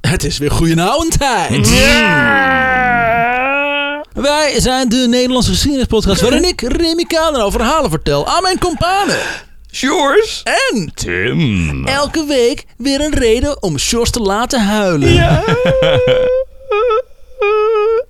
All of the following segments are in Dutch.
Het is weer goedenavond tijd. Wij zijn de Nederlandse geschiedenispodcast waarin ik, Remy Kader, verhalen vertel aan mijn kompanen. Sjoers. En Tim. elke week weer een reden om Sjors te laten huilen.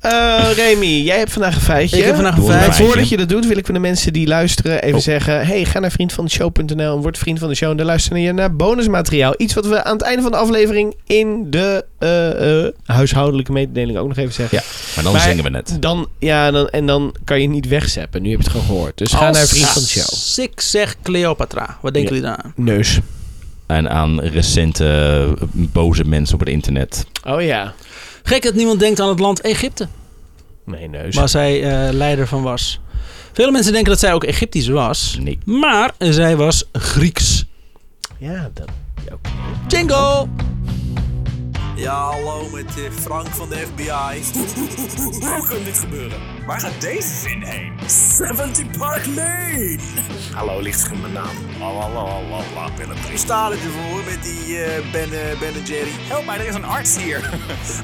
Eh Remy, jij hebt vandaag een feitje. Ik heb vandaag een Maar feitje. Voordat je dat doet, wil ik voor de mensen die luisteren even Oh. zeggen... hey, ga naar vriendvandeshow.nl en word vriend van de show. En daar luister je naar bonusmateriaal. Iets wat we aan het einde van de aflevering in de eh, eh, huishoudelijke mededeling ook nog even zeggen. Ja, maar dan Maar- zingen we net. Dan, ja, dan, en dan kan je niet wegzappen. Nu heb je het gehoord. Dus ga Als naar vriend van de show. Ik zeg Cleopatra. Wat denken Ja. jullie daar? Neus. En aan recente eh, boze mensen op het internet. Oh ja. Gek dat niemand denkt aan het land Egypte, Nee, neus. waar zij eh, leider van was. Vele mensen denken dat zij ook Egyptisch was, Nee. maar zij was Grieks. Ja, dat... Jingle! Ja, hallo met eh, Frank van de FBI. Hoe kan dit gebeuren? Waar gaat deze zin heen? 70 Park Lane! Hallo, lichtscherm mijn naam. Lalalala, Willem. Ik sta er voor met die eh, ben, eh, ben en Jerry. Help mij, er is een arts hier.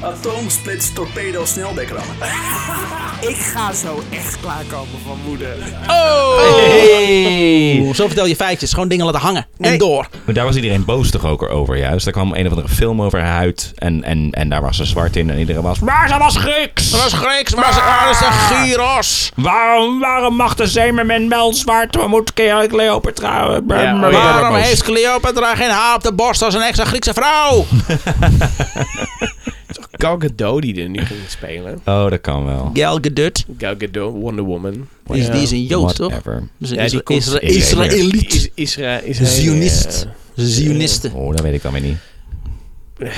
Atoomsplits, torpedo, snelbekrammen. Ik ga zo echt klaarkomen van moeder. Oeh, Zo vertel je feitjes. Gewoon dingen laten hangen. En Nee. door. Maar daar was iedereen boos toch ook over juist. Daar kwam een of andere film over haar huid. En, en, en daar was ze zwart in. En iedereen was... Maar ze was Grieks! was Grieks, maar Ah. ze waren ze gyros. Waarom, waarom mag de zeemerman wel zwart? We moeten keer Cleopatra... Ja, oh ja. Waarom heeft Cleopatra geen haar op de borst als een echte Griekse vrouw? Gal Gadot die er nu ging spelen. Oh, dat kan wel. Gal Gadot. Gal Gadot, Wonder Woman. Die is, die is een Jood, toch? Whatever. Dus een Ja, die Isra- komt- Isra- is- Israëliet. Is, Isra, is Zionist. Zionisten. Oh, dat weet ik dan weer niet. eh,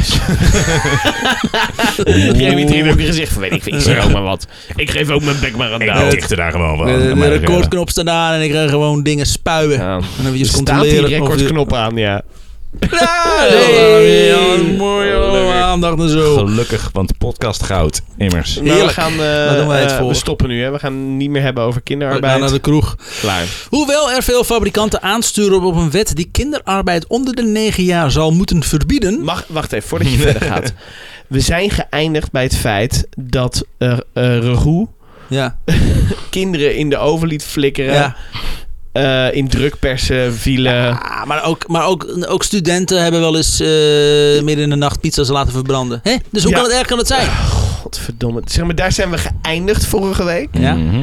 Remy Trim heeft ook gezegd van, weet ik, ik zeg ook maar wat. Ik geef ook mijn bek maar aan Nou, Douw. dichter daar gewoon wel. De, de Maar- recordknop staat aan en ik ga gewoon dingen spuien. Ja. En dan Er even staat die controleren. of recordknop aan, ja. je- Ja, nee. Mooi allemaal aandacht en zo. Gelukkig, want podcast goud. Immers. Maar we Heerlijk. gaan, eh, Daar doen wij het eh, voor. nou, we stoppen nu, hè. We gaan niet meer hebben over We gaan kinderarbeid. naar de kroeg. Klaar. Hoewel er veel fabrikanten aansturen op een wet die kinderarbeid onder de 9 jaar zal moeten verbieden. Mag, wacht even, voordat je verder gaat. We zijn geëindigd bij het feit dat eh eh, Ragout Ja, kinderen in de oven liet flikkeren. ja. eh, in drukpersen vielen. Ah, maar ook, maar ook, ook studenten hebben wel eens eh, midden in de nacht pizza's laten verbranden. Hè? Dus hoe Ja. kan het erg kan het zijn? Godverdomme. Zeg maar, daar zijn we geëindigd vorige week. Ja. Mhm.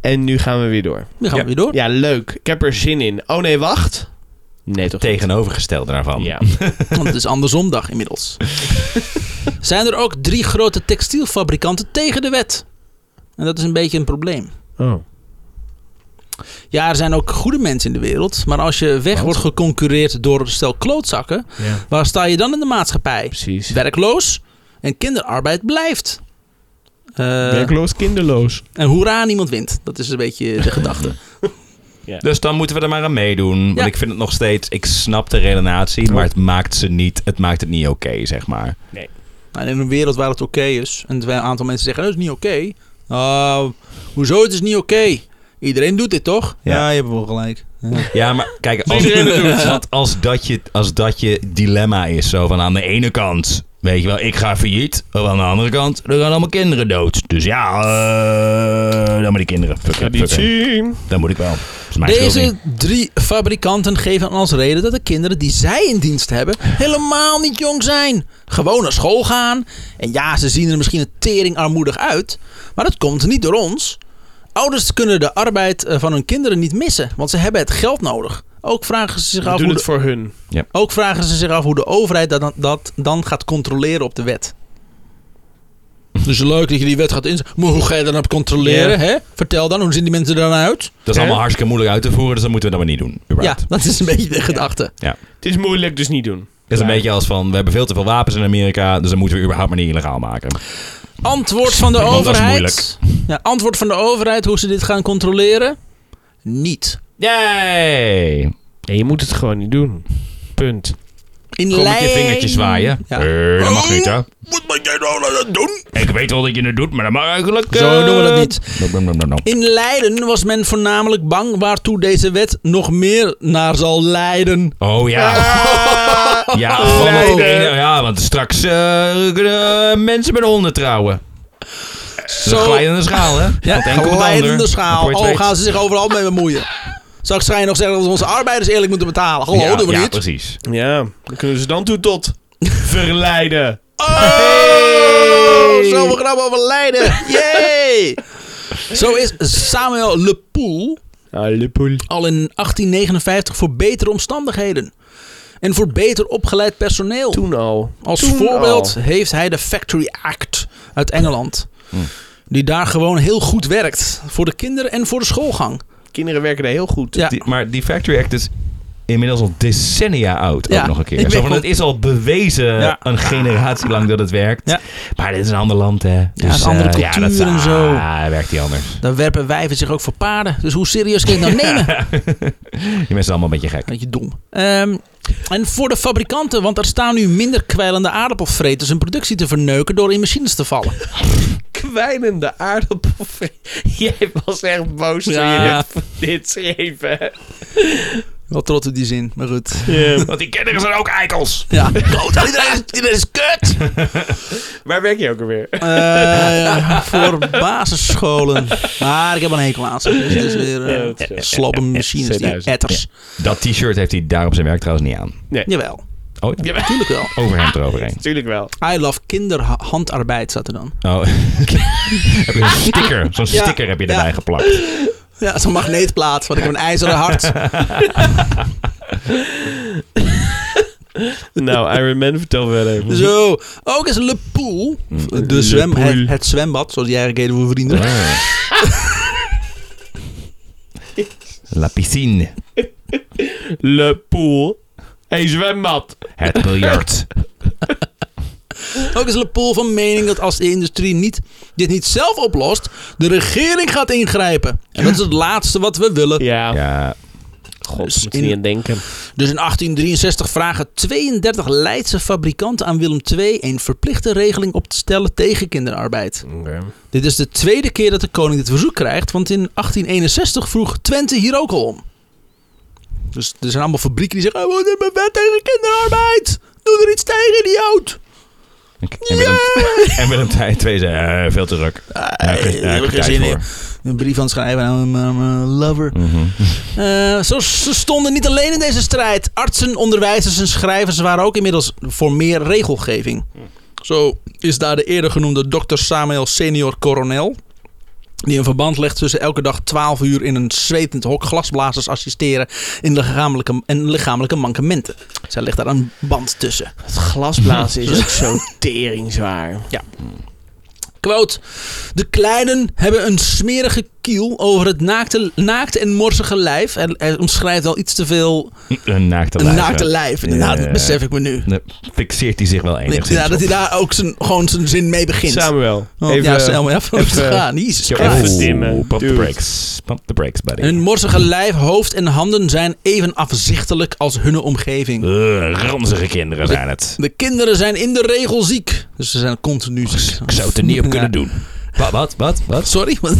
En nu gaan we weer door. Nu gaan we Ja. weer door. Ja, leuk. Ik heb er zin in. Oh nee, wacht. Nee, toch? Tegenovergestelde daarvan. Ja. Want het is andersom dag inmiddels. Zijn er ook drie grote textielfabrikanten tegen de wet? En dat is een beetje een probleem. Oh. Ja, er zijn ook goede mensen in de wereld. Maar als je weg Wat? wordt geconcureerd door een stel klootzakken, Ja. waar sta je dan in de maatschappij? Precies. werkloos en kinderarbeid blijft. Eh, Werkloos, kinderloos. en hoera, niemand wint. Dat is een beetje de gedachte. Dus dan moeten we er maar aan meedoen. Want Ja. ik vind het nog steeds... Ik snap de redenatie, maar het maakt ze niet... Het maakt het niet oké, zeg maar. Nou, in een wereld waar het oké is en terwijl een aantal mensen zeggen dat is niet oké. Ah, hoezo, het is niet oké? Iedereen doet dit toch? Ja, Ja. je hebt wel gelijk. Ja. Ja, maar kijk, als, want als, dat je, als dat je dilemma is, zo van aan de ene kant, weet je wel, ik ga failliet. Of aan de andere kant, er gaan allemaal kinderen dood. Dus ja, eh, dan maar die kinderen. Fuck it, fuck it. Traditie. Dat moet ik wel. Dat is mijn schuld niet. Deze drie fabrikanten geven als reden dat de kinderen die zij in dienst hebben helemaal niet jong zijn. Gewoon naar school gaan. En ja, ze zien er misschien een tering armoedig uit, maar dat komt niet door ons. Ouders kunnen de arbeid eh, van hun kinderen niet missen, want ze hebben het geld nodig. Ook vragen ze zich We af, doen hoe het de, voor hun. ook vragen ze zich af hoe de overheid dat, dan- dat dan gaat controleren op de wet. Dus leuk dat je die wet gaat inzetten. Maar hoe ga je dan op controleren? Hè? Vertel dan, hoe zien die mensen er dan uit? Dat is allemaal hartstikke moeilijk uit te voeren, dus dat moeten we dan maar niet doen. Ja, überhaupt. dat is een beetje de gedachte. Het is moeilijk, dus niet doen. Dat is een Ja. beetje als van, we hebben veel te veel wapens in Amerika, dus dan moeten we überhaupt maar niet illegaal maken. Antwoord van de Want dat is overheid. Ja, antwoord van de overheid hoe ze dit gaan controleren? Niet. Yay! Nee, je moet het gewoon niet doen. Punt. In Kom met lijn. je vingertje zwaaien. Ja. Eh, dat mag niet, hè? Wat Oh, moet jij nou aan het doen? Ik weet wel dat je het doet, maar dat mag eigenlijk... Zo eh, doen we dat niet. nom, nom, nom, nom. In Leiden was men voornamelijk bang waartoe deze wet nog meer naar zal leiden. Oh ja. Ja, Ja, Oh. want- Leiden. ja, want straks eh, kunnen mensen met honden trouwen. Zo. Zo. glijdende schaal, hè? Ja, Want het een komt het glijdende ander. schaal. Voor je het Oh, weet. gaan ze zich overal mee bemoeien. Straks ga je nog zeggen dat we onze arbeiders eerlijk moeten betalen. Hallo, ja, doen we ja, niet. precies. Ja, dan kunnen ze dan toe tot verleiden. Oh, zoveel grap over Leiden. Yay! Zo is Samuel Le Poel Ah, Liverpool. al in 1859 voor betere omstandigheden. En voor beter opgeleid personeel. Toen al. Als Toen voorbeeld oh. al. heeft hij de Factory Act uit Engeland. Hm. Die daar gewoon heel goed werkt. Voor de kinderen en voor de schoolgang. Kinderen werken daar heel goed. Ja. Die- maar die Factory Act is inmiddels al decennia oud. Ja, Ook nog een ik keer. weet Zo van, wel. het is al bewezen Ja. een generatie lang dat het werkt. Ja. Maar dit is een ander land, hè. Dus, het is een andere eh, ja, dat is- cultuur en zo. Ah, werkt die anders. Dan werpen wijven zich ook voor paarden. Dus hoe serieus kun je het nou nemen? Die mensen zijn allemaal een beetje gek. Beetje dom. Ehm, en voor de fabrikanten, want er staan nu minder kwijlende aardappelvreters hun productie te verneuken door in machines te vallen. Kwijnende aardappelvee. Jij was echt boos toen Ja. je dit- dit schreef, hè? Wel trots op die zin, maar goed. Want die kinderen zijn ook eikels. Ja, kloot, iedereen, is, iedereen is kut! Waar werk je ook alweer? Eh, voor basisscholen. Maar ik heb een hekel aan ze. Dus het is weer eh, Ja, dat is zo. slappe machines, die 2000. etters. Dat t-shirt heeft hij daar op zijn werk trouwens niet aan. Jawel, Oh ja. Ja, tuurlijk wel. Overhemd eroverheen. natuurlijk wel. I love kinderhandarbeid zat er dan. Oh. heb je een sticker. Zo'n Ja, sticker heb je ja. erbij geplakt. Ja, zo'n magneetplaat, want ik heb een ijzeren hart. Nou, Iron Man, vertel verder. Zo, ook is Le Poel, Mm. de zwem, het, het zwembad, zoals jij eigenlijk heet voor vrienden. Oh. La piscine. Le Poel. Hey, zwembad. Het biljart. Ook is Le Poel van mening dat als de industrie niet, dit niet zelf oplost, de regering gaat ingrijpen. En dat is het laatste wat we willen. Ja. Ja. God, Dus moet je in- niet aan denken. Dus in 1863 vragen 32 Leidse fabrikanten aan Willem II een verplichte regeling op te stellen tegen kinderarbeid. Dit is de tweede keer dat de koning dit verzoek krijgt, want in 1861 vroeg Twente hier ook al om. Dus er zijn allemaal fabrieken die zeggen, oh, we hebben een wet tegen kinderarbeid. Doe er iets tegen, idioot. En Willem, en Willem II twee zei, eh, veel te druk. Daar heb ik- daar heb ik Eh, geen tijd zin voor. in. Een brief aan het schrijven aan mijn- aan mijn lover. Mhm. Eh, zo, ze stonden niet alleen in deze strijd. Artsen, onderwijzers en schrijvers waren ook inmiddels voor meer regelgeving. Hm. Zo is daar de eerder genoemde dokter Samuel senior coronel. Die een verband legt tussen elke dag 12 uur in een zwetend hok glasblazers assisteren in lichamelijke, en lichamelijke mankementen. Zij legt daar een band tussen. Het glasblazen is ook zo teringzwaar. Quote. De kleinen hebben een smerige kiel over het naakte, naakte en morsige lijf. En hij omschrijft al iets te veel Een naakte een lijf. naakte lijf. Inderdaad, Ja. dat besef ik me nu. Dan fixeert hij zich wel enigszins Ja, dat op. hij daar ook zijn, gewoon zijn zin mee begint. Samuel, Want even... Oh, eh, ja, eh, Sam, even, even- even gaan. Jezus Zo, oh, Christus. even dimmen, Pump the dude. brakes. Pump the brakes, buddy. Hun morsige lijf, hoofd en handen zijn even afzichtelijk als hun omgeving. Eh, ranzige kinderen zijn het. De kinderen zijn in de regel ziek. Dus ze zijn continu ziek. Oh, Ik zou het er niet op kunnen Ja. doen. Wat, wat, wat, wat? Sorry. wat-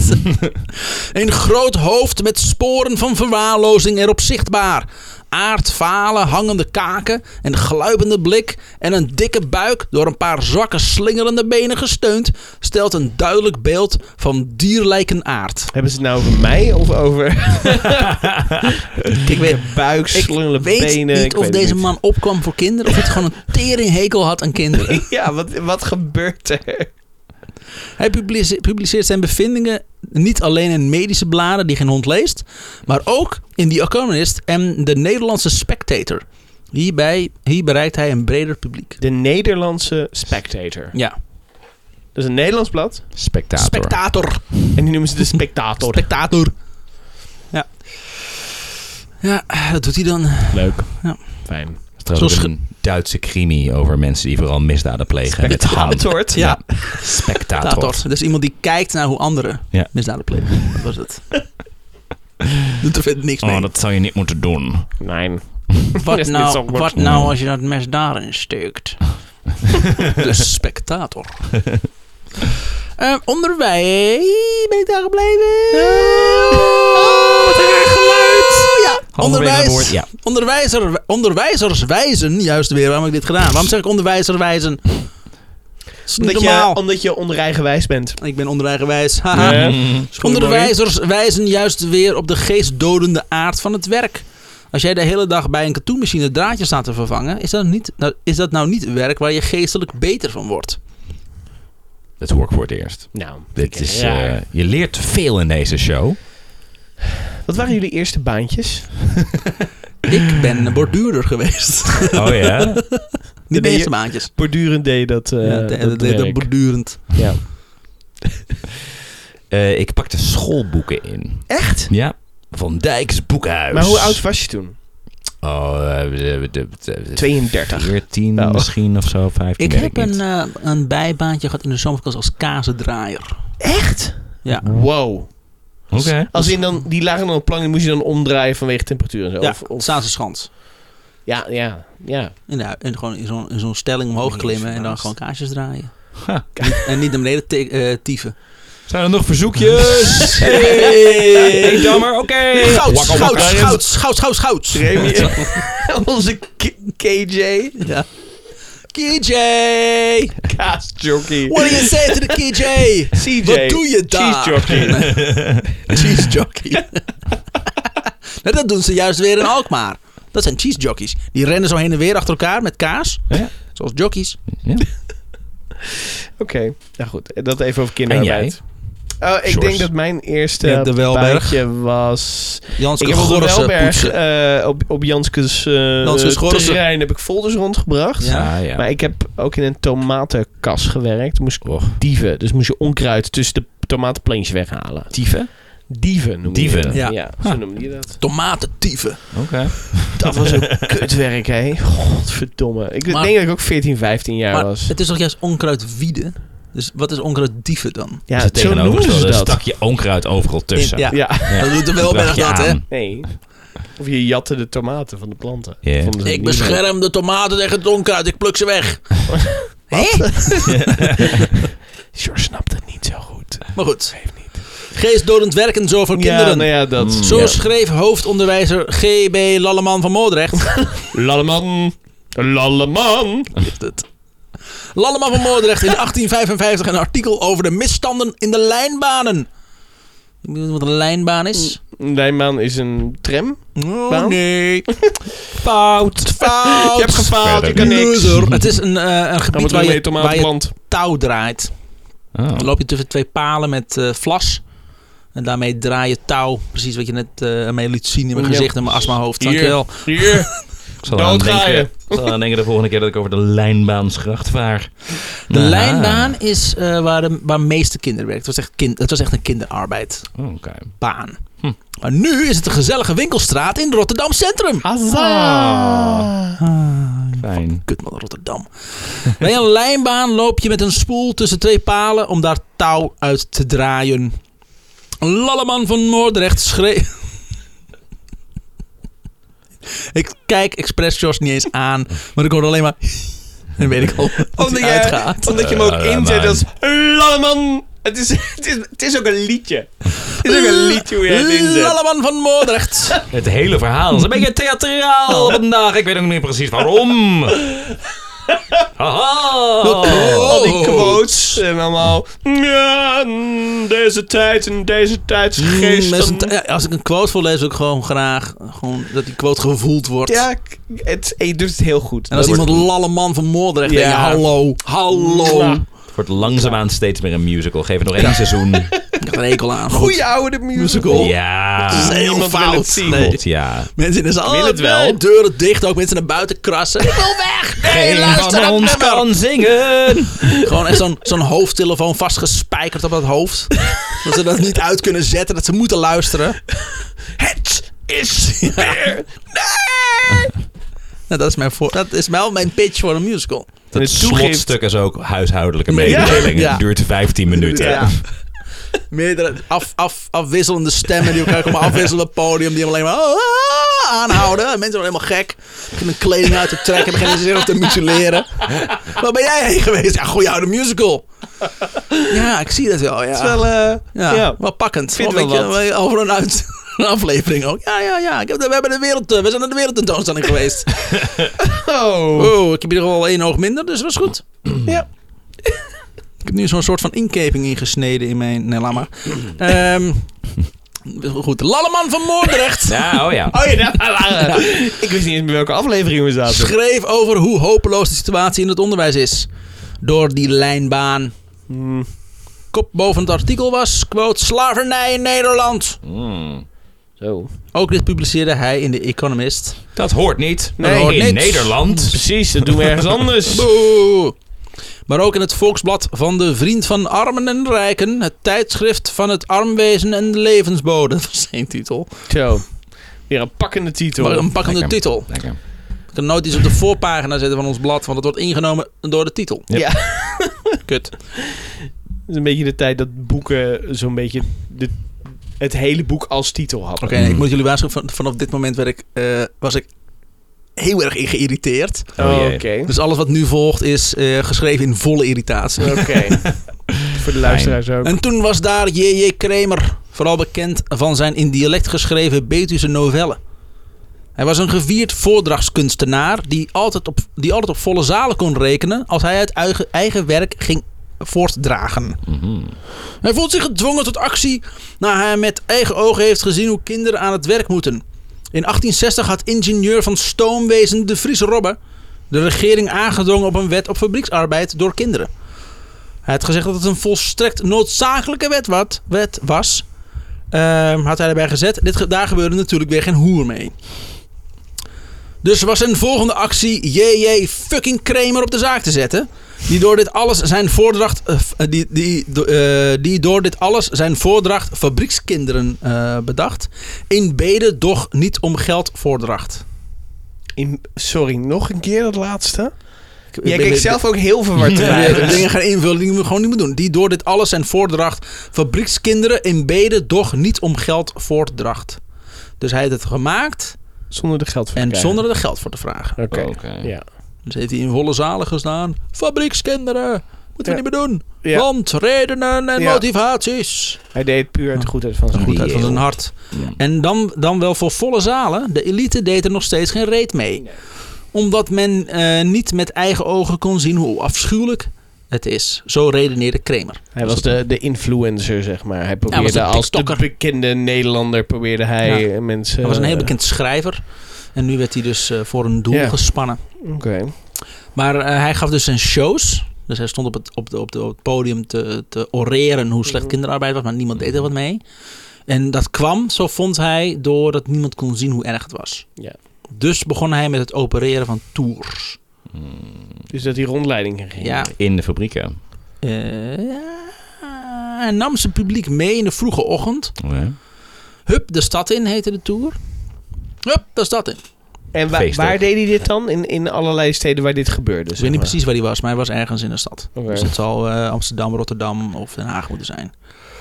een groot hoofd met sporen van verwaarlozing erop zichtbaar. Aardvalen, hangende kaken, een gluipende blik en een dikke buik door een paar zwakke slingerende benen gesteund stelt een duidelijk beeld van dierlijken aard. Hebben ze het nou over mij of over... Ik weet, buik, ik slungelen weet benen. niet ik of weet deze het niet. man opkwam voor kinderen of het gewoon een teringhekel had aan kinderen. Ja, wat, wat gebeurt er? Hij publice- publiceert zijn bevindingen niet alleen in medische bladen die geen hond leest, maar ook in The Economist en de Nederlandse Spectator. Hierbij, hier bereikt hij een breder publiek. De Nederlandse Spectator. Ja, Dat is een Nederlands blad. Spectator. Spectator. En die noemen ze de Spectator. Spectator. Ja. Ja, dat doet hij dan. Leuk. Ja. Fijn. Dat is trouwens Zoals ook een Duitse crimi over mensen die vooral misdaden plegen. Met hand. Spectator. Ja, Spectator. Spectator. Dus iemand die kijkt naar hoe anderen Ja. misdaden plegen. Dat was het. Doet er verder niks mee. Oh, dat zou je niet moeten doen. Oh, Nee. Wat is niet zo nou, goed. wat nou als je dat mes daarin steekt? De spectator. Eh, onderwijs. Ben ik daar gebleven? Oh, wat een raar geluid! Ja, Halverwege het woord, Ja. onderwijzer, onderwijzers wijzen juist weer waarom heb ik dit gedaan. Waarom zeg ik onderwijzer wijzen? Dat is niet Omdat je, normaal. omdat je ondereigenwijs bent. Ik ben onderwijgerwijs. Haha. Ja. Mm. Onderwijzers wijzen juist weer op de geestdodende aard van het werk. Als jij de hele dag bij een katoenmachine draadjes staat te vervangen, is dat, niet, nou, is dat nou niet werk waar je geestelijk beter van wordt? Dat hoor ik voor het eerst. Nou, vind Dit ik is, raar. eh, je leert veel in deze show. Wat waren jullie eerste baantjes? Ik ben een borduurder geweest. Oh ja? Die ben je- meeste maandjes. Bordurend deed je dat. eh Ja, dat, de- de- de- de- werk. Borduurend. ja. Eh, ik pakte schoolboeken in. Echt? Ja. Van Dijk's Boekhuis. Maar hoe oud was je toen? Oh, eh, de- de- de- de- 32. 14 Oh. misschien of zo, 15. Ik weet heb ik niet. een, eh, een bijbaantje gehad in de zomerklas als kazendraaier. Echt? Ja. Wow. eh, Oké. Als in dan, die lagen dan op plank, die moest je dan omdraaien vanwege temperatuur en zo. Ja, Of- of- Zaanse Schans. ja, ja, ja. In de, hu- en gewoon in zo'n in zo'n stelling omhoog Nee, klimmen en dan verbaasd. gewoon kaasjes draaien. Ha. Niet- en niet naar beneden te- eh, tieven. Zijn er nog verzoekjes? hey, Dammer, oké. Gouds, Wakka, wakka. gouds, gouds, gouds, gouds, gouds. Onze K- KJ. Ja. KJ! Kaasjockey. What do you say to the KJ? CJ. Wat doe je daar? Cheesejockey. Cheese jockey. nou, dat doen ze juist weer in Alkmaar. Dat zijn cheese jockeys. Die rennen zo heen en weer achter elkaar met kaas. Ja. Zoals jockeys. Ja. Oké. Nou goed, dat even over En kinderarbeid. jij? Oh, ik Sjors. denk dat mijn eerste Ja, de Welberg. baantje was... Janske Ik heb op de Gorrissen Welberg, poetsen. eh, op, op Janske's eh, Janske's Gorrissen. terrein heb ik folders rondgebracht. Ja. Ah, ja. Oh. Maar ik heb ook in een tomatenkas gewerkt. Moest ik Och. dieven. Dus moest je onkruid tussen de tomatenplantjes weghalen. Dieven? Dieven noemde Dieven. je dat. Ja. Ja, zo noemde je dat. Tomatentieven. Oké. Dat was ook kutwerk, hè. Godverdomme. Ik Maar- denk dat ik ook 14, 15 jaar Maar was. het is toch juist onkruid wieden? Dus wat is onkruid dieven dan? ja, Ze zo noemen ze tegenovergestelde, dat. Stak je onkruid overal tussen. Ja. Ja, Ja. Dat doet de Dacht Welberg je dat, hè? aan. nee. Of je jatte de tomaten van de planten. Ja. Dat vonden ze Ik niet leuk. bescherm de tomaten tegen het onkruid. Ik pluk ze weg. Hé? George snapt het niet zo goed. Maar goed. Geestdodend werken zo voor Ja, kinderen. nou ja, dat... Mm. Zo ja. schreef hoofdonderwijzer G.B. Lalleman van Moordrecht. Lalleman. Lalleman. Lalleman van Moordrecht in 1855 een artikel over de misstanden in de lijnbanen. Ik weet niet wat een lijnbaan is. Nijman is een tram. Oh Baan? nee. Fout. Fout. Je hebt gefaald, je kan niks. Loser. Het is een, eh, een Dan gebied moet je waar je, mee waar je tomatenplant. touw draait. Oh. Dan loop je tussen twee palen met eh, vlas. En daarmee draai je touw. Precies wat je net eh mee liet zien in mijn Ja. gezicht en mijn astmahoofd. Hier. Dankjewel. Hier. Ik zal aan Doodgaaien. denken, ik zal aan denken de volgende keer dat ik over de lijnbaansgracht vaar. De Aha. lijnbaan is eh, waar de waar meeste kinderen werken. Het was echt, kind, het was echt een kinderarbeidbaan. Oh, Oké. Hm. Maar nu is het een gezellige winkelstraat in Rotterdam Centrum. Ah. Azza. Fijn. Kut man, Rotterdam. Bij een lijnbaan loop je met een spoel tussen twee palen om daar touw uit te draaien. Lalleman van Moordrecht schreef... ik kijk expres Jos niet eens aan, maar ik hoor alleen maar... en weet ik al dat Omdat hij je, uitgaat. omdat je hem ook Eh, inzet man. als Lalleman. Het is, het, is, het is ook een liedje. Het is ook een liedje hoe jij het inzet. Lalleman van Moordrecht. Het hele verhaal is een beetje theatraal vandaag. Ik weet ook niet precies waarom. Haha. Al die Oh. quotes en allemaal. Ja, mm, deze tijd en deze Mm, tijdsgeest. mensen, dan- ja, als ik een quote wil lezen, wil ik gewoon graag gewoon dat die quote gevoeld wordt. Ja, k- het, je doet het heel goed. En als Dat- iemand lalle man van Moordrecht Ja. denk je, hallo, hallo. Ja. Ik Het wordt langzaamaan steeds meer een musical. Geef het nog één seizoen. heb er een hekel aan. Goed. Goeie oude musical. Dat is Ja. heel Niemand wil fout. het zien. Nee. God, ja. Mensen in de zaal, Wil het wel. nee, deuren dicht, ook mensen naar buiten krassen. Ik wil weg! Nee, luister dat nummer. zingen. Gewoon echt zo'n zo'n hoofdtelefoon vastgespijkerd op dat hoofd. dat ze dat niet uit kunnen zetten, dat ze moeten luisteren. Het is weer. Nou, dat, is mijn voor, dat is wel mijn pitch voor een musical. Dat het toegeeft- slotstuk is ook huishoudelijke Ja. mededelingen. Ja. Het duurt 15 minuten. Ja. Meerdere af, af, afwisselende stemmen die elkaar komen afwisselen op het podium. Die hem alleen maar "Ah", aanhouden. En mensen worden helemaal gek. Beginnen kleding uit te trekken. Beginnen zichzelf te mutileren. Waar ben jij heen geweest? Ja, goeie oude musical. Ja, ik zie dat wel, ja. Wel, eh, ja, ja. wel pakkend. vind Of wel weet je, wat. wel over en uit. een aflevering ook. Ja, ja, ja. Ik heb, de- we, hebben de wereld, eh, we zijn naar de wereldtentoonstelling geweest. Oh. Oh, ik heb hier al één oog minder, dus dat is goed. Ja. Ik heb nu zo'n soort van inkeping ingesneden in mijn... Nee, laat maar. Ehm, goed, de Lalleman van Moordrecht. Ja, oh ja. Oh ja, daar waren we. Ik wist niet eens meer welke aflevering we zaten. schreef over hoe hopeloos de situatie in het onderwijs is. Door die lijnbaan. Hmm. Kop boven het artikel was, quote, slavernij in Nederland. Mm. Zo. Ook dit publiceerde hij in The Economist. Dat hoort niet. Nee, in hoort niks. Nederland. Precies, dat doen we ergens anders. Boe. Maar ook in het Volksblad van de Vriend van Armen en Rijken. Het tijdschrift van het armwezen en de levensbode. Dat was zijn titel. Zo. Weer een pakkende titel. Maar een pakkende Lekker. titel. Lekker. Ik kan nooit iets op de voorpagina zetten van ons blad, want dat wordt ingenomen door de titel. Ja. Kut. Het is een beetje de tijd dat boeken zo'n beetje de, het hele boek als titel hadden. Oké, nee, ik moet jullie waarschuwen, van- vanaf dit moment werd ik, eh, was ik heel erg in geïrriteerd. Oh jee. Oké. Dus alles wat nu volgt is eh, geschreven in volle irritatie. Oké. Voor de luisteraars ook. En toen was daar J.J. Kramer, vooral bekend van zijn in dialect geschreven Betuwse novellen. Hij was een gevierd voordrachtskunstenaar die altijd op, die altijd op volle zalen kon rekenen als hij uit eigen, eigen werk ging voortdragen. Mhm. Hij voelt zich gedwongen tot actie na hij met eigen ogen heeft gezien hoe kinderen aan het werk moeten. In 1860 had ingenieur van stoomwezen de Vries Robbe de regering aangedrongen op een wet op fabrieksarbeid door kinderen. Hij had gezegd dat het een volstrekt noodzakelijke wet, wat, wet was. Ehm, had hij erbij gezet. Dit, ge- daar gebeurde natuurlijk weer geen hoer mee. Dus was zijn volgende actie JJ fucking Kramer op de zaak te zetten. Die door dit alles zijn voordracht. eh, f- eh, die, die, do- eh, die door dit alles zijn voordracht fabriekskinderen eh, bedacht. In bede, doch niet om geld voordracht. In- sorry, nog een keer dat laatste? Ik- Jij ik ben- kijkt ik- zelf ook heel verward te Ja, zijn. ik ben dingen gaan invullen die we gewoon niet moeten doen. Die door dit alles zijn voordracht. Fabriekskinderen in bede, doch niet om geld voordracht. Dus hij heeft het gemaakt Zonder de geld voor en te krijgen. zonder er geld voor te vragen. Oké. Oké. Ja. Dus heeft hij in volle zalen gestaan. Fabriekskinderen, moeten Ja. we niet meer doen. Ja. Want redenen en Ja. motivaties. Hij deed het puur uit de goedheid van zijn Goedheid van hart. zijn hart. Mm. En dan, dan wel voor volle zalen. De elite deed er nog steeds geen reet mee. Omdat men eh, niet met eigen ogen kon zien hoe afschuwelijk het is. Zo redeneerde Kramer. Hij was de, de influencer, zeg maar. Hij probeerde was een als de TikToker. bekende Nederlander probeerde hij eh, mensen... Hij was een heel bekend schrijver. En nu werd hij dus eh, voor een doel Ja. gespannen. Oké. Maar eh, hij gaf dus zijn shows. Dus hij stond op het, op de, op de, op het podium te, te oreren hoe slecht Mhm. kinderarbeid was. Maar niemand deed er wat mee. En dat kwam, zo vond hij, doordat niemand kon zien hoe erg het was. Ja. Dus begon hij met het opereren van tours. Dus dat hij rondleiding ging. Ja. In de fabrieken. Eh, hij nam zijn publiek mee in de vroege ochtend. Ja. Hup de stad in heette de tour. Hup de stad in. En wa- Feestdag. waar deed hij dit dan? In, in allerlei steden waar dit gebeurde? Dus ik weet niet precies waar hij was, maar hij was ergens in de stad. Oké. Dus het zal eh, Amsterdam, Rotterdam of Den Haag moeten zijn.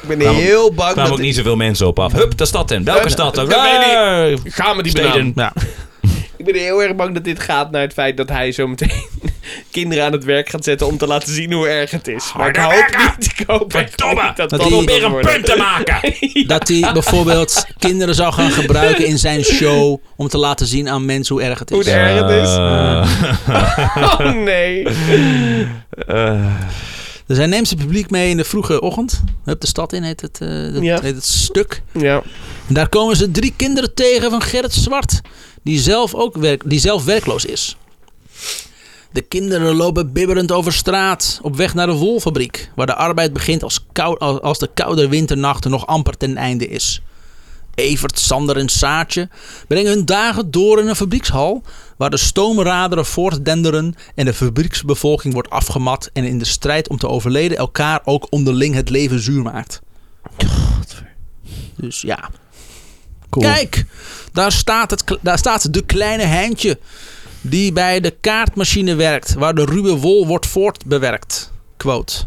Ik ben Kwamen- heel bang Er kwamen ook niet zoveel mensen op af. Hup, de stad in. Welke Eh, stad dan? dat Ah, Ga met die Steden. banaan. Ja. Ik ben heel erg bang dat dit gaat naar het feit dat hij zo meteen kinderen aan het werk gaat zetten om te laten zien hoe erg het is. Maar ik Harder hoop werken! niet, ik hoop echt Verdomme! niet dat Dat dat die- Probeer gaat een worden. punt te maken. Dat hij bijvoorbeeld kinderen zou gaan gebruiken in zijn show om te laten zien aan mensen hoe erg het Hoe is. erg het is. Eh, Oh nee. Eh, Dus hij neemt zijn publiek mee in de vroege ochtend. Hup de stad in heet het, eh, dat Ja. heet het stuk. Ja. En daar komen ze drie kinderen tegen van Gerrit Zwart, die zelf ook werk, die zelf werkloos is. De kinderen lopen bibberend over straat op weg naar de wolfabriek, waar de arbeid begint als, kou- als als de koude winternacht nog amper ten einde is. Evert, Sander en Saartje brengen hun dagen door in een fabriekshal, waar de stoomraderen voortdenderen en de fabrieksbevolking wordt afgemat en in de strijd om te overleden elkaar ook onderling het leven zuur maakt. Dus ja. Kijk, daar staat, het, daar staat de kleine Heintje. Die bij de kaartmachine werkt, waar de ruwe wol wordt voortbewerkt. Quote.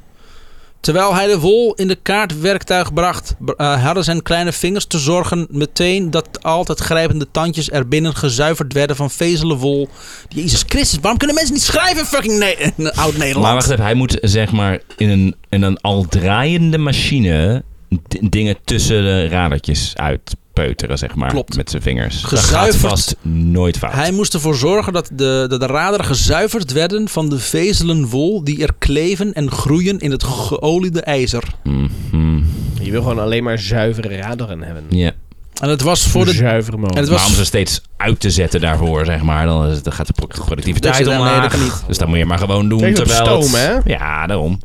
Terwijl hij de wol in de kaartwerktuig bracht, br- eh, hadden zijn kleine vingers te zorgen meteen dat de altijd grijpende tandjes erbinnen gezuiverd werden van vezelen wol. Jezus Christus, waarom kunnen mensen niet schrijven in fucking Ne- in Maar oud-Nederland? wacht even, hij moet zeg maar in een, in een al draaiende machine d- dingen tussen de radertjes uitpikken. peuteren, zeg maar. Klopt. Met zijn vingers. Dat gaat Gezuiverd. vast nooit fout. Hij moest ervoor zorgen dat de, dat de raderen gezuiverd werden van de vezelen wol die er kleven en groeien in het geoliede ijzer. Mhm. Je wil gewoon alleen maar zuivere raderen hebben. Ja. En het was voor de... Zuivere En molen. het Maar om ze was, steeds uit te zetten daarvoor, zeg maar, dan, is het- dan gaat de pro- Dat productiviteit je daar- nee, dat omlaag. kan niet. Dus dan moet je maar gewoon doen. Kijk, op terwijl het- stoom, hè? Ja, daarom.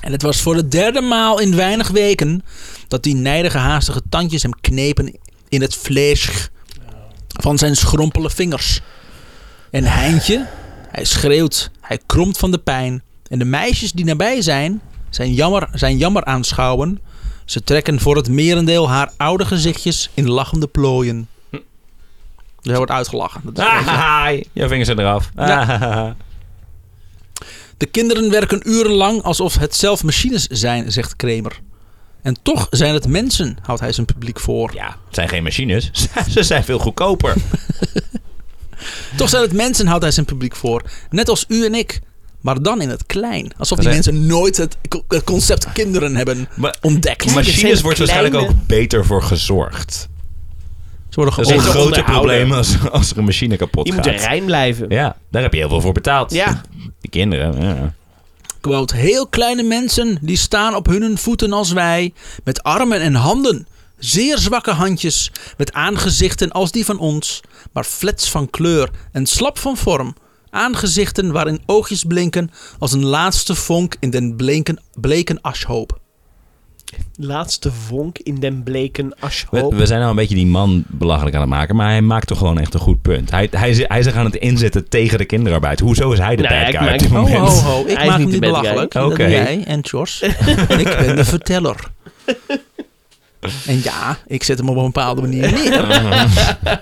en het was voor de derde maal in weinig weken dat die nijdige haastige tandjes hem knepen in het vlees van zijn schrompele vingers. En Heintje, hij schreeuwt, hij kromt van de pijn. En de meisjes die nabij zijn, zijn jammer, zijn jammer aanschouwen. Ze trekken voor het merendeel haar oude gezichtjes in lachende plooien. Dus hij wordt uitgelachen. Dat Ah. is een beetje- Ahaha, jouw vingers zijn eraf. Ja. Ahaha. De kinderen werken urenlang alsof het zelf machines zijn, zegt Kramer. En toch zijn het mensen, houdt hij zijn publiek voor. Ja, het zijn geen machines. Ze zijn veel goedkoper. Toch zijn het mensen, houdt hij zijn publiek voor. Net als u en ik. Maar dan in het klein. Alsof die Dat is- mensen nooit het, het concept kinderen hebben Maar ontdekt. machines wordt waarschijnlijk kleine- ook beter voor gezorgd. Ze worden Dat is een Beter geoordeeld. grote onderhouden. probleem als, als er een machine kapot Je moet gaat. rein blijven. Ja, daar heb je heel veel voor betaald. Ja. Die kinderen. Ja. Quote, heel kleine mensen die staan op hun voeten als wij, met armen en handen, zeer zwakke handjes, met aangezichten als die van ons, maar flets van kleur en slap van vorm. Aangezichten waarin oogjes blinken als een laatste vonk in den blinken, bleken ashoop. Laatste vonk in den bleken ashoop. We, we zijn nou een beetje die man belachelijk aan het maken, maar hij maakt toch gewoon echt een goed punt. Hij, hij, is- hij is zich aan het inzetten tegen de kinderarbeid. Hoezo is hij de Nou ja, bad ik guy op maak- dit Oh, moment? Ho, ho, ho. Ik Hij is maak niet hem de niet bad guy. belachelijk. Dat Oké. ben jij en Jos. en ik ben de verteller. En ja, ik zet hem op een bepaalde manier neer.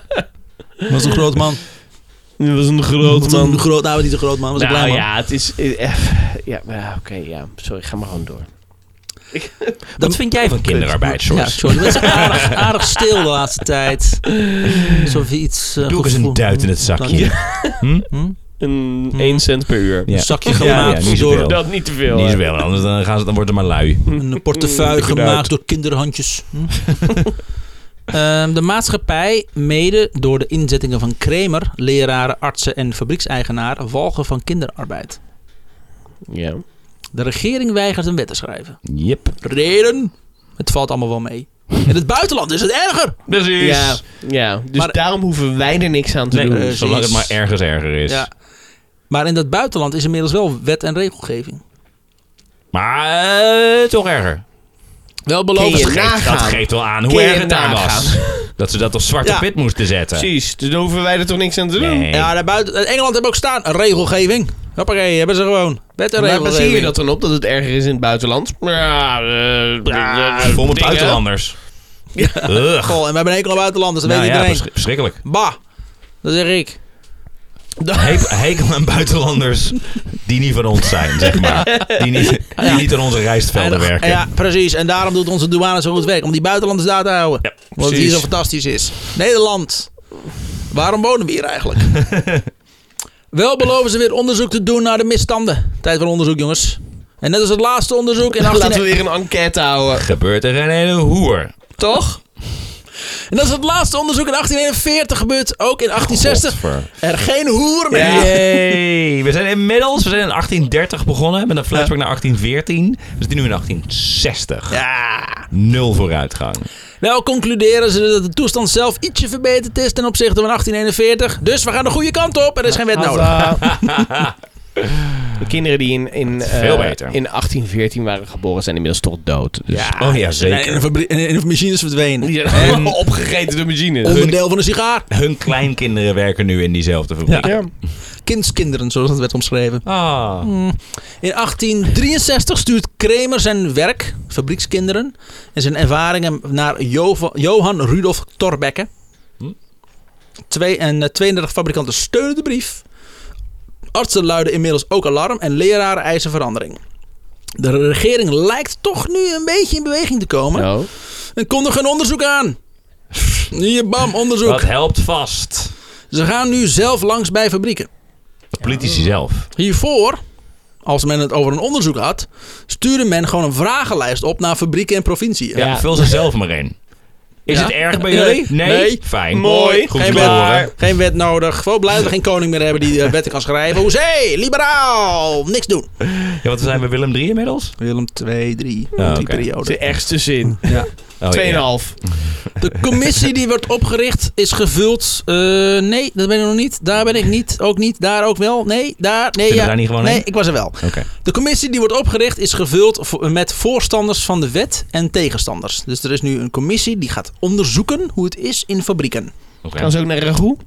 Dat was een groot man. Dat was een groot Een groot, nou, niet een groot man, was een Nou klein man. ja, het is... eh, eh, ja, maar ja, oké, ja. Sorry, ga maar gewoon door. Wat vind jij van kinderarbeid, Ja, Sjors? sorry. Het is aardig, aardig stil de laatste tijd. Alsof je iets... eh, Doe ook goed eens een voelt. duit in het zakje. Hm? Een Hmm. 1 cent per uur. Ja. Een zakje Ja, gemaakt ja, niet door zoveel. Dat niet te veel. Niet hè? zoveel, anders dan, gaan ze, dan wordt het maar lui. een portefeuille Dikke duit. gemaakt door kinderhandjes. Hm? Ehm, de maatschappij, mede door de inzettingen van Kramer, leraren, artsen en fabriekseigenaren, walgen van kinderarbeid. Ja. De regering weigert een wet te schrijven. Yep. Reden? Het valt allemaal wel mee. In het buitenland is het erger. Precies. Ja, ja. dus Maar- daarom hoeven wij er niks aan te Nee, doen. eh, zolang het precies. maar ergens erger is. Ja. Maar in dat buitenland is inmiddels wel wet en regelgeving. Maar eh, toch erger. Wel Kun beloofd. je Dat geeft, nagaan? dat geeft wel aan Kun hoe je erg het daar was. nagaan? Dat ze dat op zwarte Ja. pit moesten zetten. Precies, dus dan hoeven wij er toch niks aan te doen. Nee. Ja, daar buiten, in Engeland hebben ook staan regelgeving. Hoppakee, hebben ze gewoon. Wet en Maar regelgeving. baseer je dat dan op dat het erger is in het buitenland? Ja, eh, Ja, eh, vol met dingen. buitenlanders. Ja. Goh, en we hebben een enkel buitenlanders, dat Nou weet ja, iedereen. verschri- verschrikkelijk. bah, dat zeg ik. He- hekel aan buitenlanders die niet van ons zijn, zeg maar. Die niet, die niet in onze rijstvelden En- werken. Ja, precies. En daarom doet onze douane zo goed werk. Om die buitenlanders daar te houden. Ja, Want het hier precies. zo fantastisch is. Nederland. Waarom wonen we hier eigenlijk? Wel beloven ze weer onderzoek te doen naar de misstanden. Tijd voor onderzoek, jongens. En net als het laatste onderzoek in 18... Laten we weer een enquête houden. Gebeurt er een hele hoer. Toch? En dat is het laatste onderzoek in 1841 gebeurd. Ook in 1860. Godver. Er geen hoer meer. Yay. We zijn inmiddels, we zijn in 1830 begonnen met een flashback naar 1814. We zitten nu in 1860. Ja. Nul vooruitgang. Wel concluderen ze dat de toestand zelf ietsje verbeterd is ten opzichte van 1841. Dus we gaan de goede kant op. Er is geen wet Nou, nodig. eh. De kinderen die in, in, eh, Veel beter. in 1814 waren geboren zijn inmiddels toch dood. Dus. Ah, Oh ja, Nee, in, de zeker. fabrie- in de- in de machines verdwenen. Die zijn allemaal opgegeten door machines. Onderdeel van een sigaar. Hun kleinkinderen werken nu in diezelfde fabriek. Ja. Kindskinderen, zoals dat werd omschreven. Ah. In 1863 stuurt Kramer zijn werk, fabriekskinderen, en zijn ervaringen naar Jova- Johan Rudolf Torbekke. Twee, en eh, 32 fabrikanten steunen de brief. Artsen luiden inmiddels ook alarm en leraren eisen verandering. De regering lijkt toch nu een beetje in beweging te komen. Nou, En kondig een onderzoek aan. Hier, bam, onderzoek. Dat helpt vast. Ze gaan nu zelf langs bij fabrieken. De politici zelf. Hiervoor, als men het over een onderzoek had, stuurde men gewoon een vragenlijst op naar fabrieken en provinciën. Ja, Ja. Vul ze zelf maar in. Is Ja. het erg bij Nee. jullie? Nee. Nee. Fijn. Mooi. Goed geen, te wet, horen. geen wet nodig. Gewoon blij dat we geen koning meer hebben die eh, wetten kan schrijven. Hoezee, liberaal, niks doen. Ja, want we zijn bij Willem 3 inmiddels. Willem 2, 3, Oh, oké. Dat is de ergste zin. Oh, 2,5. De commissie die wordt opgericht is gevuld. Eh, nee, dat ben ik nog niet. Daar ben ik niet. Ook niet. Daar ook wel. Nee, daar. Nee, Kunnen we ja. daar niet gewoon nee heen? ik was er wel. ja. Oké. De commissie die wordt opgericht is gevuld vo- met voorstanders van de wet en tegenstanders. Dus er is nu een commissie die gaat onderzoeken hoe het is in fabrieken. Oké. Gaan ze ook naar Ragout?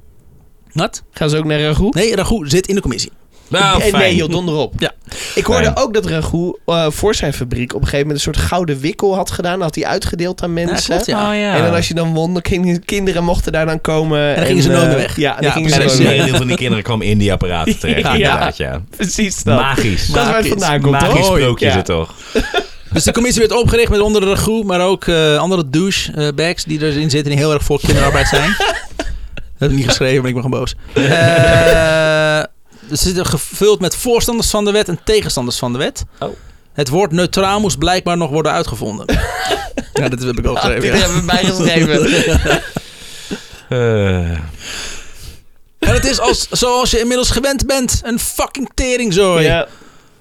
Wat? Gaan ze ook naar Ragout? Nee, Ragout zit in de commissie. Nou, Eh, fijn. nee, joh, donder op. Ja. Ik hoorde Fijn. ook dat Ragout eh, voor zijn fabriek op een gegeven moment een soort gouden wikkel had gedaan. Had hij uitgedeeld aan Ja, mensen. klopt, ja. Oh ja. En dan als je dan won, dan gingen- kinderen mochten daar dan komen. En gingen ze eh, nooit meer weg. Ja, dan Ja, gingen ze En precies. nooit een meer Ja. weg. merendeel van die kinderen kwam in die apparaten terecht. Ja. Inderdaad, ja. Precies dat. Magisch. dat is waar het vandaan komt, Magisch toch? sprookje Ja. is het toch? Dus de commissie werd opgericht met onder de Ragout, maar ook eh, andere douchebags die erin zitten die heel erg voor kinderarbeid zijn. dat heb ik niet geschreven, maar ik ben gewoon boos. Eh, ze zitten gevuld met voorstanders van de wet en tegenstanders van de wet. Oh. Het woord neutraal moest blijkbaar nog worden uitgevonden. ja, dat heb ik ook Dit geschreven. ja. Ah, hebben we bijgeschreven. Eh, En het is als, zoals je inmiddels gewend bent, een fucking teringzooi. ja.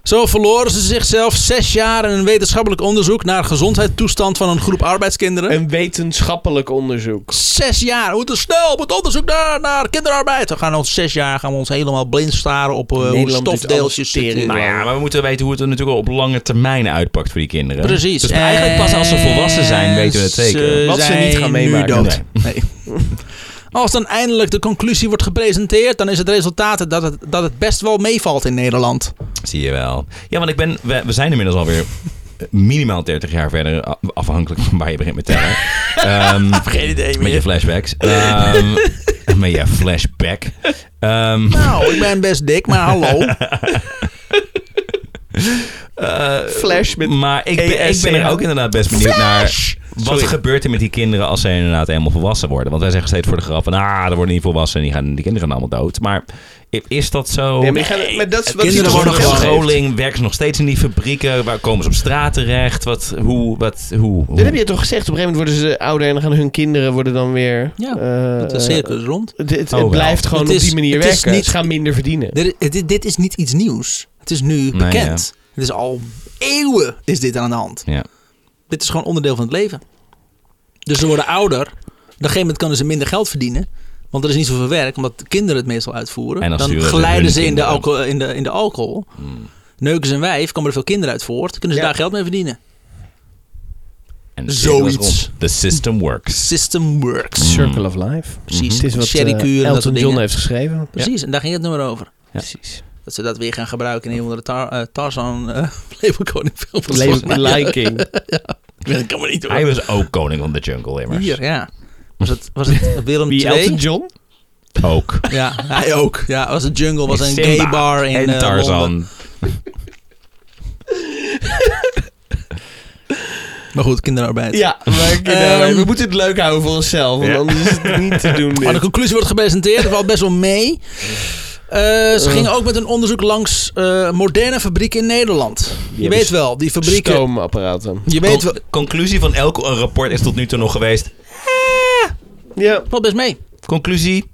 Zo verloren ze zichzelf zes jaar in een wetenschappelijk onderzoek naar gezondheidstoestand van een groep arbeidskinderen. Een wetenschappelijk onderzoek. Zes jaar. We moeten snel op het onderzoek naar, naar kinderarbeid. We gaan ons zes jaar gaan we ons helemaal blind staren op eh, hoe Nederland doet stofdeeltjes alles zitten. tering. nou ja, maar we moeten weten hoe het er natuurlijk op lange termijn uitpakt voor die kinderen. Precies. Dus eigenlijk pas als ze volwassen zijn, weten we het En zeker. Wat Eh, ze zijn niet gaan nu meemaken. dood. Nee. Als dan eindelijk de conclusie wordt gepresenteerd, dan is het resultaat dat het, dat het best wel meevalt in Nederland. Zie je wel. Ja, want ik ben, we, we zijn inmiddels alweer eh, minimaal 30 jaar verder, a- afhankelijk van waar je begint met tellen. Ehm, Geen idee met je flashbacks. Ehm, met je flashback. Ehm, Nou, ik ben best dik, maar hallo. eh, Flash met... maar ik ben, ik ben er ESCH. ook inderdaad best benieuwd naar... Wat Sorry. gebeurt er met die kinderen als ze inderdaad helemaal volwassen worden? Want wij zeggen steeds voor de grap van... Ah, er worden niet volwassen en die, gaan, die kinderen gaan allemaal dood. Maar i- is dat zo? Nee, maar ik ga- maar dat is Kinderen wat Kinderen hij worden worden gewoon gewoon heeft. gescholing, werken ze nog steeds in die fabrieken? Waar komen ze op straat terecht? Wat, hoe, wat, hoe? hoe? Dat heb je toch gezegd? Op een gegeven moment worden ze ouder en dan gaan hun kinderen worden dan weer... Ja, eh, Het is circus rond. eh, dit- Het, Oh, wel. blijft gewoon Het op is- die manier het is werken. niet- Ze gaan minder verdienen. Dit, dit, dit is niet iets nieuws. Het is nu ja. bekend. Het is al eeuwen is dit aan de hand. Ja. Dit is gewoon onderdeel van het leven. Dus ze worden ouder. Op een gegeven moment kunnen ze minder geld verdienen. Want er is niet zoveel werk, omdat de kinderen het meestal uitvoeren. En dan dan sturen ze glijden hun ze in de, kinderen. alcohol, in, de, in de alcohol. Neuken ze een wijf, komen er veel kinderen uit voort. Kunnen ze Ja. daar geld mee verdienen. En de cirkel is Zoiets. rond. The system works. System works. Circle of Life. Precies. Mhm. Het is wat Sherry eh, Cure en dat Elton soort John dingen. heeft geschreven. Precies, en daar ging het nummer over. Precies. Dat ze dat weer gaan gebruiken in een of andere tar, eh, Tarzan eh Leeuwenkoning film. Leven Lion King. Ik weet het kan maar niet Hij hoor. was ook koning van de jungle immers. Hier, ja. Was het, was het Willem Wie, Elton II? John? Ook. Ja, hij ook. Ja, was een jungle, was een Simba gay bar in en eh, Londen. Tarzan. Maar goed, kinderarbeid. Ja, maar nou, Ehm, we moeten het leuk houden voor onszelf. Want Ja. anders is het niet te doen Maar de dit. conclusie wordt gepresenteerd, dat valt best wel mee. Eh, ze gingen ook met een onderzoek langs eh, moderne fabrieken in Nederland. Je hebben weet wel, die fabrieken. Stoomapparaten. Je weet wel, Con- conclusie van elk rapport is tot nu toe nog geweest. Ja. valt best mee. Conclusie?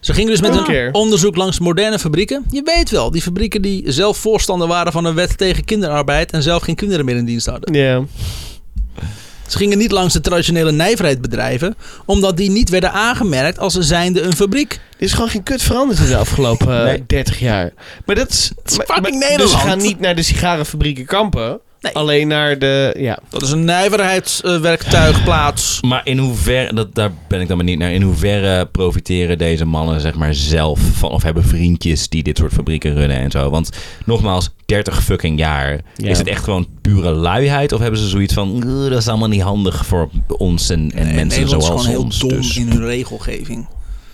Ze gingen dus met Nog een een keer. onderzoek langs moderne fabrieken. Je weet wel, die fabrieken die zelf voorstander waren van een wet tegen kinderarbeid en zelf geen kinderen meer in dienst hadden. Ja. Ze gingen niet langs de traditionele nijverheidsbedrijven, omdat die niet werden aangemerkt als zijnde een fabriek. Er is gewoon geen kut veranderd in de afgelopen eh, Nee. 30 jaar. Maar dat is... is maar- fucking maar- Dus Nederland. we gaan niet naar de sigarenfabrieken kampen. Nee. Alleen naar de... Ja. Dat is een nijverheidswerktuigplaats. Maar in hoeverre, dat, daar ben ik dan benieuwd naar, in hoeverre profiteren deze mannen zeg maar zelf van, of hebben vriendjes die dit soort fabrieken runnen en zo? Want nogmaals, 30 fucking jaar, Ja. is het echt gewoon pure luiheid? Of hebben ze zoiets van, "Eh, dat is allemaal niet handig voor ons en, en Nee, mensen Nederland zoals is gewoon ons? heel dom dus, in hun regelgeving.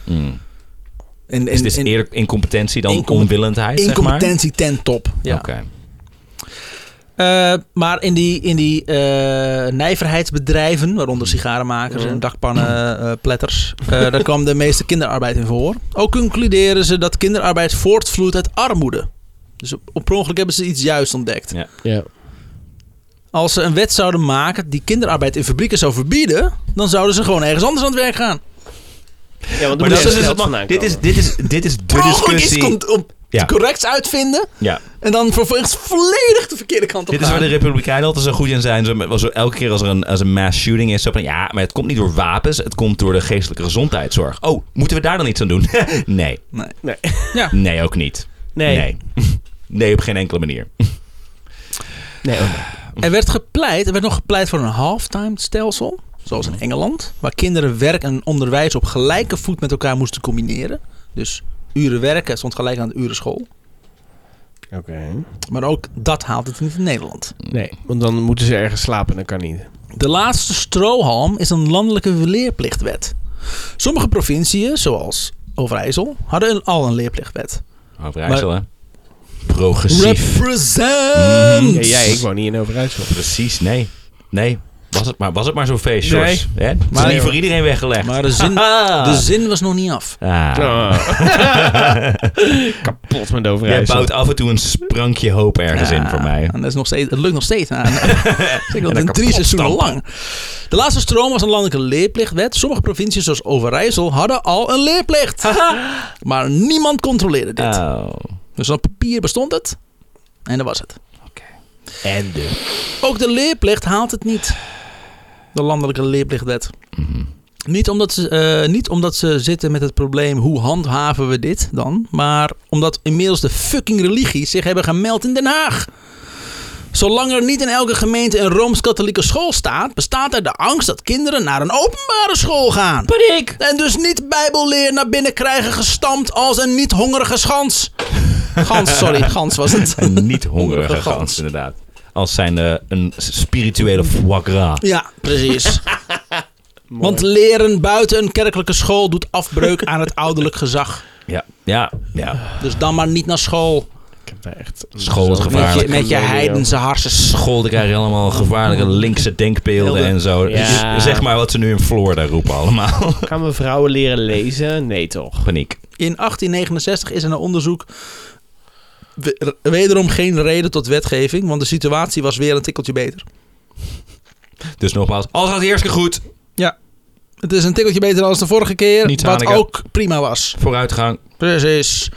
mm. En, en, Dus het is en eerder incompetentie dan Incom- onwillendheid, zeg maar? incompetentie ten top. Ja. Oké. Eh, maar in die, in die eh, nijverheidsbedrijven, waaronder sigarenmakers en dakpannen, eh, pletters, eh, daar kwam de meeste kinderarbeid in voor. Ook concluderen ze dat kinderarbeid voortvloeit uit armoede. Dus op, op per ongeluk hebben ze iets juist ontdekt. Ja. Ja. Als ze een wet zouden maken die kinderarbeid in fabrieken zou verbieden, dan zouden ze gewoon ergens anders aan het werk gaan. Ja, want Maar er moet dat is dus geld het vandaan mag- dit, is, komen. dit, is, dit is de Mogelijk iets discussie. komt op Ja. corrects uitvinden Ja. en dan vervolgens volledig de verkeerde kant op Dit is waar gaan. de Republikeinen altijd zo goed in zijn. Zo, met- zo elke keer als er een, als een mass shooting is, zo van ja, maar het komt niet door wapens, het komt door de geestelijke gezondheidszorg. Oh, moeten we daar dan iets aan doen? nee, Nee. Nee. Ja. nee ook niet. Nee. nee. Nee, op geen enkele manier. Nee, ook niet. Er werd gepleit, er werd nog gepleit voor een halftime stelsel, zoals Mhm. in Engeland, waar kinderen werk en onderwijs op gelijke voet met elkaar moesten combineren. Dus uren werken stond gelijk aan de uren school. Maar ook dat haalt het niet in Nederland. Nee, want dan moeten ze ergens slapen. Dat kan niet. De laatste strohalm is een landelijke leerplichtwet. Sommige provinciën, zoals Overijssel, hadden een- al een leerplichtwet. Overijssel, hè? Progressief. Represent! Mhm. Ja, jij, ik woon niet in Overijssel. Precies, nee. Nee. Was het maar, was het maar zo'n feest, Nee. George. Hè? Het is Maar- niet voor iedereen weggelegd. Maar de zin, Haha. de zin was nog niet af. Ah. Kapot met Jij Overijssel. bouwt af en toe een sprankje hoop ergens in voor mij. En dat is nog steeds, het lukt nog steeds. na- na- Zeker al dan in drie kapot seizoenen stampen. lang. De laatste stroom was een landelijke leerplichtwet. Sommige provincies, zoals Overijssel, hadden al een leerplicht. maar niemand controleerde dit. Oh. Dus op papier bestond het. En dat was het. En de... Ook de leerplicht haalt het niet. De landelijke leerplichtwet. Niet omdat, ze, eh, niet omdat ze zitten met het probleem hoe handhaven we dit dan, maar omdat inmiddels de fucking religies zich hebben gemeld in Den Haag. Zolang er niet in elke gemeente een rooms-katholieke school staat, bestaat er de angst dat kinderen naar een openbare school gaan. Paniek! En dus niet bijbelleer naar binnen krijgen gestampt als een niet hongerige schans. Gans, sorry, gans was het. Een niet hongerige Hongerige gans, gans. inderdaad. Als zijn eh, een spirituele foie gras. Ja, precies. Want leren buiten een kerkelijke school doet afbreuk aan het ouderlijk gezag. Ja, ja, ja. Dus dan maar niet naar school. Ik heb daar echt... School is Met je, gevaarlijk. met je heidense harsen. School, daar krijg je allemaal gevaarlijke linkse denkbeelden Beelden. en zo. Ja. Dus zeg maar wat ze nu in Florida roepen allemaal. Gaan we vrouwen leren lezen? Nee, toch? Paniek. In 1869 is er een onderzoek. we- Wederom geen reden tot wetgeving, want de situatie was weer een tikkeltje beter. Dus nogmaals, alles gaat eerst goed. Het is een tikkeltje beter dan de vorige keer, Niets wat Haneke. ook prima was. Vooruitgang. Precies.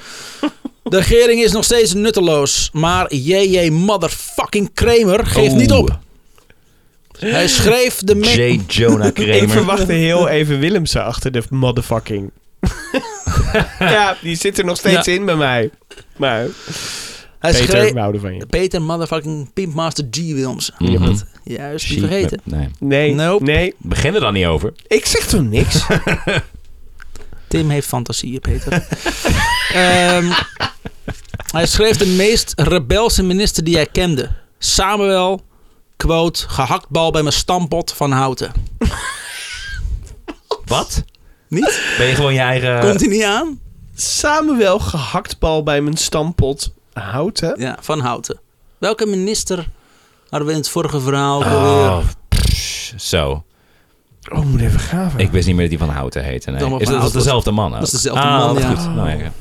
De regering is nog steeds nutteloos, maar JJ motherfucking Kramer geeft Oh. niet op. Hij schreef de me- J. Jonah Ik Kramer. verwachtte heel even Willemsen achter de motherfucking. ja, die zit er nog steeds in bij mij. Maar Hij Peter, schreef- we houden van je. Peter motherfucking Pimpmaster G. Wilms. Mhm. Je hebt het juist niet Shit, vergeten. Nee. Nee, Nope. nee. Begin er dan niet over. Ik zeg toch niks? Tim heeft fantasieën, Peter. Ehm, hij schreef de meest rebelse minister die hij kende. Samuel, quote, gehaktbal bij mijn stampot van Houten. Wat? Niet? Ben je gewoon je eigen... Komt hij niet aan? Samuel gehaktbal bij mijn stampot houten. Ja, van Houten. Welke minister hadden we in het vorige verhaal? ook alweer? Oh, pff, zo. Oh, moet even graven. Ik wist niet meer dat die van Houten heette. Nee. Dan maar Is van dat, dat Houten. dezelfde man? ook? Dat is dezelfde Ah, man, wat ja. Goed. Nou, ja.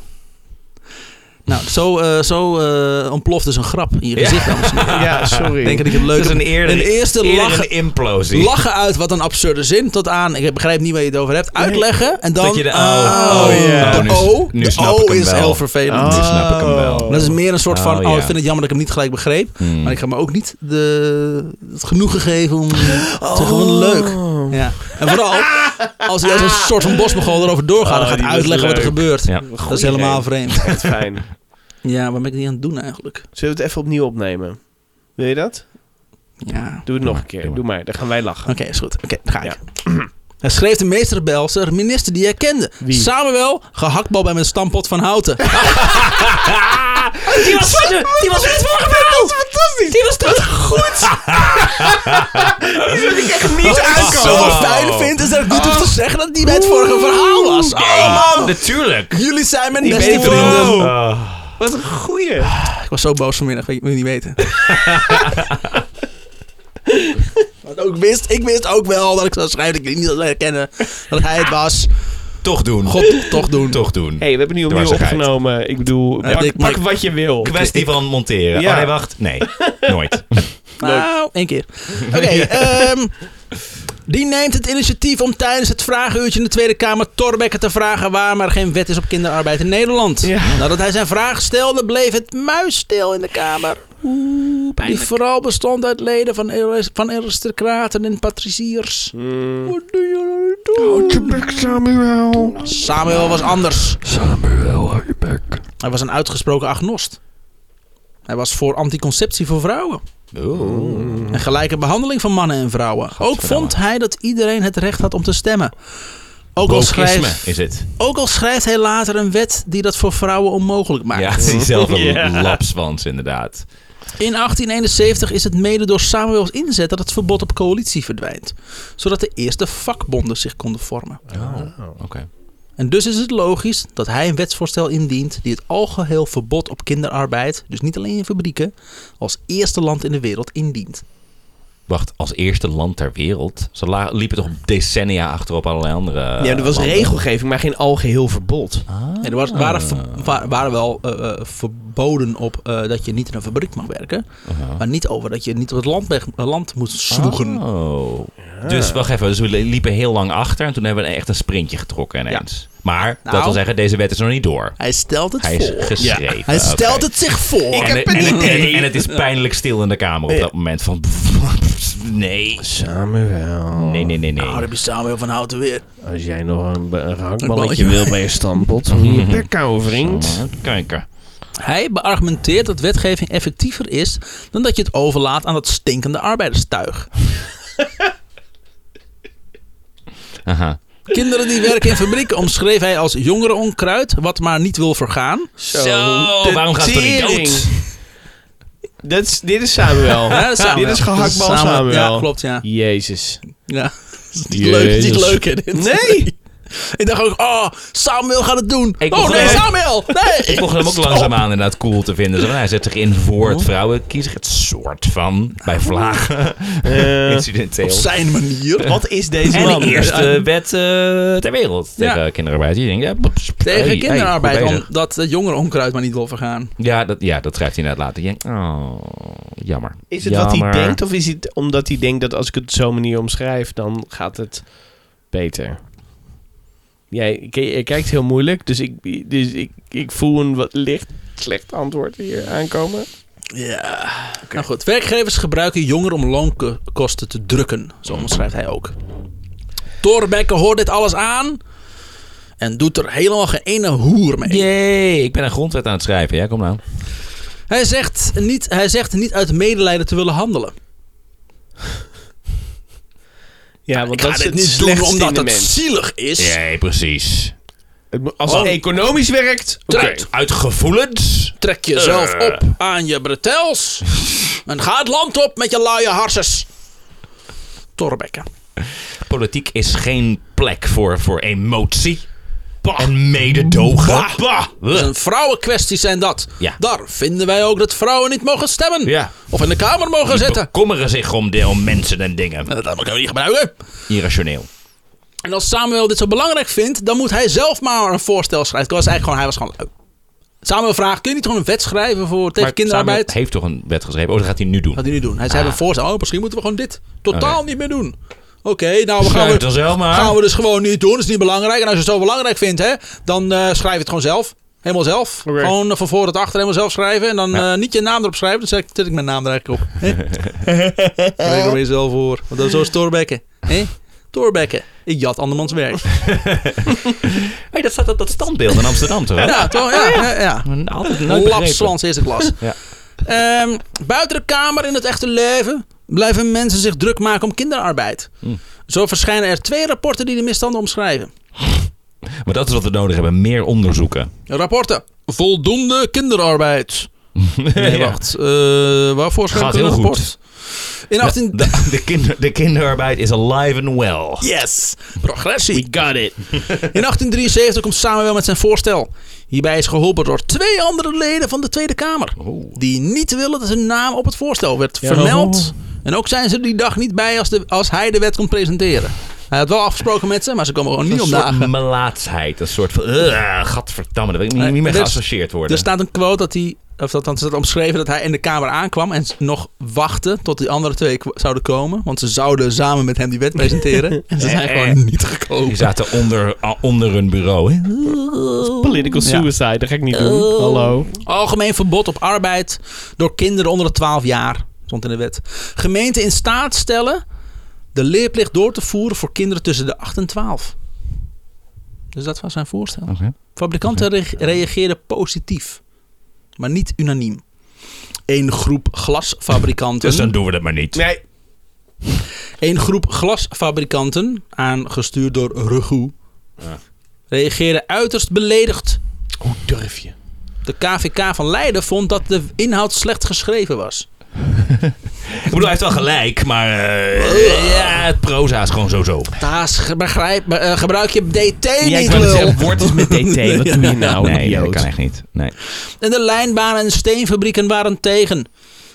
Nou, zo, eh, zo eh, ontploft dus een grap in je Ja. gezicht, dames en heren. ja, sorry. Denk dat ik het leuk Het is een eerder, Een eerste eerder lachen- een implosie. Lachen uit wat een absurde zin. Tot aan, ik begrijp niet waar je het over hebt. Uitleggen en dan. Dat je de- oh, ah, oh, ja. de Nu- O. nu de snap O ik hem is wel. heel vervelend. Ah. Nu snap ik hem wel. Dat is meer een soort van. Oh, Oh, ja. ik vind het jammer dat ik hem niet gelijk begreep. Hmm. Maar ik ga me ook niet de, het genoegen geven om Oh. te gewoon leuk. Ja. En vooral als hij als een soort van bosmogol erover doorgaat. Oh, dan gaat die hij was uitleggen wat er leuk. gebeurt. Ja. Dat is helemaal vreemd. Echt fijn. Ja, wat ben ik niet aan het doen eigenlijk? Zullen we het even opnieuw opnemen? Wil je dat? Ja. Doe het nog maar, een keer. doe Doe maar. maar. Dan gaan wij lachen. Oké, is goed. Oké, dan ga ik. Hij schreef de meester rebelse minister die hij kende. Wie? Samuel, gehaktbal bij mijn stampot van houten. Die was van de... Die was het vorige verhaal. Dat is fantastisch. Die was toch goed. Oh. Wat ik aankomen. zo fijn vind, is dat ik niet hoef te zeggen dat die bij het vorige verhaal was. Oh Oh man, Natuurlijk. jullie zijn mijn Die beste beter vrienden. dan- Oh. Wat een goeie. Ik was zo boos vanmiddag, weet je, moet je niet weten. Wat ook wist, ik wist ook wel dat ik zou schrijven, dat ik niet zou herkennen dat hij het was. Toch doen. God, toch doen. Toch doen. hey, we hebben nu opnieuw Dwarsigheid. opgenomen. Ik bedoel, Ja, pak, ik- pak maar- wat je wil. Kwestie van monteren. Ja. Oh nee, wacht. Nee. Nooit. Nou, één keer. Oké, ehm, die neemt het initiatief om tijdens het vragenuurtje in de Tweede Kamer Torbekke te vragen waarom er geen wet is op kinderarbeid in Nederland. Ja. Nadat hij zijn vraag stelde, bleef het muisstil in de Kamer. Die vooral bestond uit leden van, eris- van aristocraten en patriciërs. Hmm. Wat doe je nou? je bek, Samuel. Samuel was anders. Samuel, hou je bek. Hij was een uitgesproken agnost. Hij was voor anticonceptie voor vrouwen. En gelijke behandeling van mannen en vrouwen. Ook vond hij dat iedereen het recht had om te stemmen. Ook al, Wokisme schrijft, is het. ook al schrijft hij later een wet die dat voor vrouwen onmogelijk maakt. Ja, het is diezelfde Ja. lapswans inderdaad. In 1871 is het mede door Samuels inzet dat het verbod op coalitie verdwijnt. Zodat de eerste vakbonden zich konden vormen. Oké. En dus is het logisch dat hij een wetsvoorstel indient die het algeheel verbod op kinderarbeid, dus niet alleen in fabrieken, als eerste land in de wereld indient. Wacht, als eerste land ter wereld. Ze la- liepen toch decennia achter op allerlei andere. eh, ja, er was landen. regelgeving, maar geen algeheel verbod. Nee, er was, waren, ver- wa- waren wel eh, eh, verboden op eh, dat je niet in een fabriek mag werken, maar niet over dat je niet op het land, weg- eh, land moet sloegen. Oh. Dus wacht even, dus we li- liepen heel lang achter en toen hebben we echt een sprintje getrokken ineens. Maar dat Nou. wil zeggen, deze wet is nog niet door. Hij stelt het Hij is voor. geschreven. Hij Oké. stelt het zich voor. en, en- en- en- en het is pijnlijk stil in de kamer op dat moment. Van, nee. Samuel, Nee, nee, nee, nee. Nou, daar heb je Samuel van Houten weer. als jij nog een, een balletje. raakballetje wil bij je standbot, hou je bek, ouwe vriend. Kijken. Hij beargumenteert dat wetgeving effectiever is dan dat je het overlaat aan dat stinkende arbeiderstuig. Aha. Kinderen die werken in fabrieken omschreef hij als jongerenonkruid, wat maar niet wil vergaan. Zo, Zo, waarom gaat het toch niet tering. dood? Dat is, dit is Samuel. Ja, dat is Samuel. Dit is gehaktbal Dat is Samuel. Ja, klopt, ja. Jezus. ja. Dat is niet leuk, dat is niet Jezus. leuk, hè, dit. Nee! Ik dacht ook, oh, Samuel gaat het doen. Ik oh mocht nee, hem- Samuel! Nee! Ik mocht hem ook langzaamaan inderdaad cool te vinden. Zo, hij zet zich in voor Oh. het vrouwenkies. Het soort van, bij vlagen, Eh, Op incidenteel. zijn manier. wat is deze En man? de eerste wet eh, ter wereld Ja. tegen kinderarbeid. Je denkt, ja, pff, hey, hey, Tegen kinderarbeid, goed bezig. omdat de jongeren onkruid maar niet wil vergaan. Ja, dat, ja, dat schrijft hij inderdaad later. Je denkt, oh, jammer. Is het wat Jammer. hij denkt of is het omdat hij denkt dat als ik het op zo'n manier omschrijf, dan gaat het beter? Jij k- je kijkt heel moeilijk, dus ik, dus ik, ik voel een wat licht slecht antwoord hier aankomen. Ja. Nou goed, werkgevers gebruiken jongeren om loonkosten te drukken. Zo omschrijft hij ook. Thorbecke hoort dit alles aan en doet er helemaal geen ene hoer mee. Jee, ik ben een grondwet aan het schrijven. Ja, kom nou. Hij, zegt niet, hij zegt niet uit medelijden te willen handelen. Ja, want Ik ga dit niet doen omdat het zielig is. Jee, precies. Als Oh. het economisch werkt, oké. Eruit. Uit gevoelens. Trek jezelf Eh. op aan je bretels. en ga het land op met je luie harses. Torbekke. Politiek is geen plek voor, voor emotie. En mededogen. Bah. Dus een vrouwenkwestie zijn dat. Ja. Daar vinden wij ook dat vrouwen niet mogen stemmen. Ja. Of in de Kamer mogen Die zitten. bekommeren zich om, de, om mensen en dingen. Dat kunnen we niet gebruiken. Irrationeel. En als Samuel dit zo belangrijk vindt, dan moet hij zelf maar een voorstel schrijven. Dat was eigenlijk gewoon, hij was gewoon lui. Samuel vraagt, kun je niet gewoon een wet schrijven voor tegen Maar kinderarbeid? Samuel heeft toch een wet geschreven? Oh, dat gaat hij nu doen. Wat hij nu doen. Hij zei een voorstel, oh, misschien moeten we gewoon dit totaal Ah. Oké. niet meer doen. Oké, nou we gaan Schrijf we... het dan zelf maar. gaan we dus gewoon niet doen. Dat is niet belangrijk. En als je het zo belangrijk vindt, hè, dan eh, schrijf het gewoon zelf. Helemaal zelf. Oké. Gewoon eh, van voor tot achter helemaal zelf schrijven. En dan eh, niet je naam erop schrijven. Dan zet ik, zet ik mijn naam er eigenlijk op. Hè? Schrijf er weer zelf voor. Want dat is zo is Thorbecke. Hè? Thorbecke. Ik jat andermans werk. Hey, dat staat op dat standbeeld in Amsterdam, toch? ja, toch? Ja, ja, ja. Altijd Oh nooit begrepen. Lapswans eerste klas. Ja. Ehm, buiten de kamer in het echte leven blijven mensen zich druk maken om kinderarbeid. Hm. Zo verschijnen er twee rapporten die de misstanden omschrijven. Maar dat is wat we nodig hebben. Meer onderzoeken. Rapporten. Voldoende kinderarbeid. Nee, Ja. wacht. Eh, waarvoor schrijft Gaat een heel rapport? goed. In 18... De, de, kinder, de kinderarbeid is alive and well. Yes! Progressie. Got it. In 1873 komt Samuel met zijn voorstel. Hierbij is geholpen door twee andere leden van de Tweede Kamer. Oh. Die niet willen dat hun naam op het oh. voorstel werd vermeld. En ook zijn ze die dag niet bij als, de, als hij de wet komt presenteren. Hij had wel afgesproken met ze, maar ze komen gewoon niet Een soort opdagen. melaatsheid. Een soort van... eh, gadverdamme, daar wil ik niet, Nee, niet meer dus- geassocieerd worden. Er staat een quote dat hij, of dat dan staat omschreven dat hij in de kamer aankwam en nog wachtte tot die andere twee k- zouden komen. Want ze zouden samen met hem die wet presenteren. en ze zijn Eh, eh. gewoon niet gekomen. Die zaten onder, a- onder een bureau. Hè? Political suicide, dat ga ik niet Oh. doen. Hallo. Algemeen verbod op arbeid door kinderen onder de 12 jaar. Stond in de wet. Gemeenten in staat stellen de leerplicht door te voeren voor kinderen tussen de 8 en 12. Dus dat was zijn voorstel. Oké. Fabrikanten re- reageerden positief, maar niet unaniem. Eén groep glasfabrikanten. Dus dan doen we dat maar niet. Nee. Een groep glasfabrikanten, aangestuurd door Rugu, reageerde uiterst beledigd. Hoe durf je? De KVK van Leiden vond dat de inhoud slecht geschreven was. Ik bedoel, hij heeft wel gelijk, maar eh, ja, het proza is gewoon zo zo. Taas, ge- begrijp, be- eh, gebruik je DT Ja, ik niet, wou net lul. zeggen, woord is met DT. Wat doe je nou, nee, nee, dat idioot? kan echt niet. Nee. En de lijnbanen en steenfabrieken waren tegen.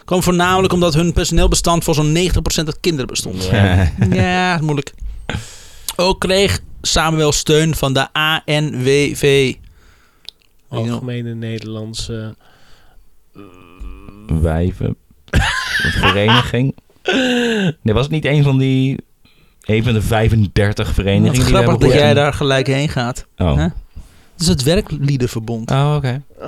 Kwam voornamelijk omdat hun personeelbestand voor zo'n 90% uit kinderen bestond. Ja, moeilijk. Ook kreeg Samuel steun van de ANWV. Algemene Nederlandse... Wijven. Vereniging. Nee, was het niet een van die... Een van de 35 verenigingen Wat die we grappig dat hebben jij gehoord? daar gelijk heen gaat. Oh, Hè? Het is het werkliedenverbond. oh oké. Ja,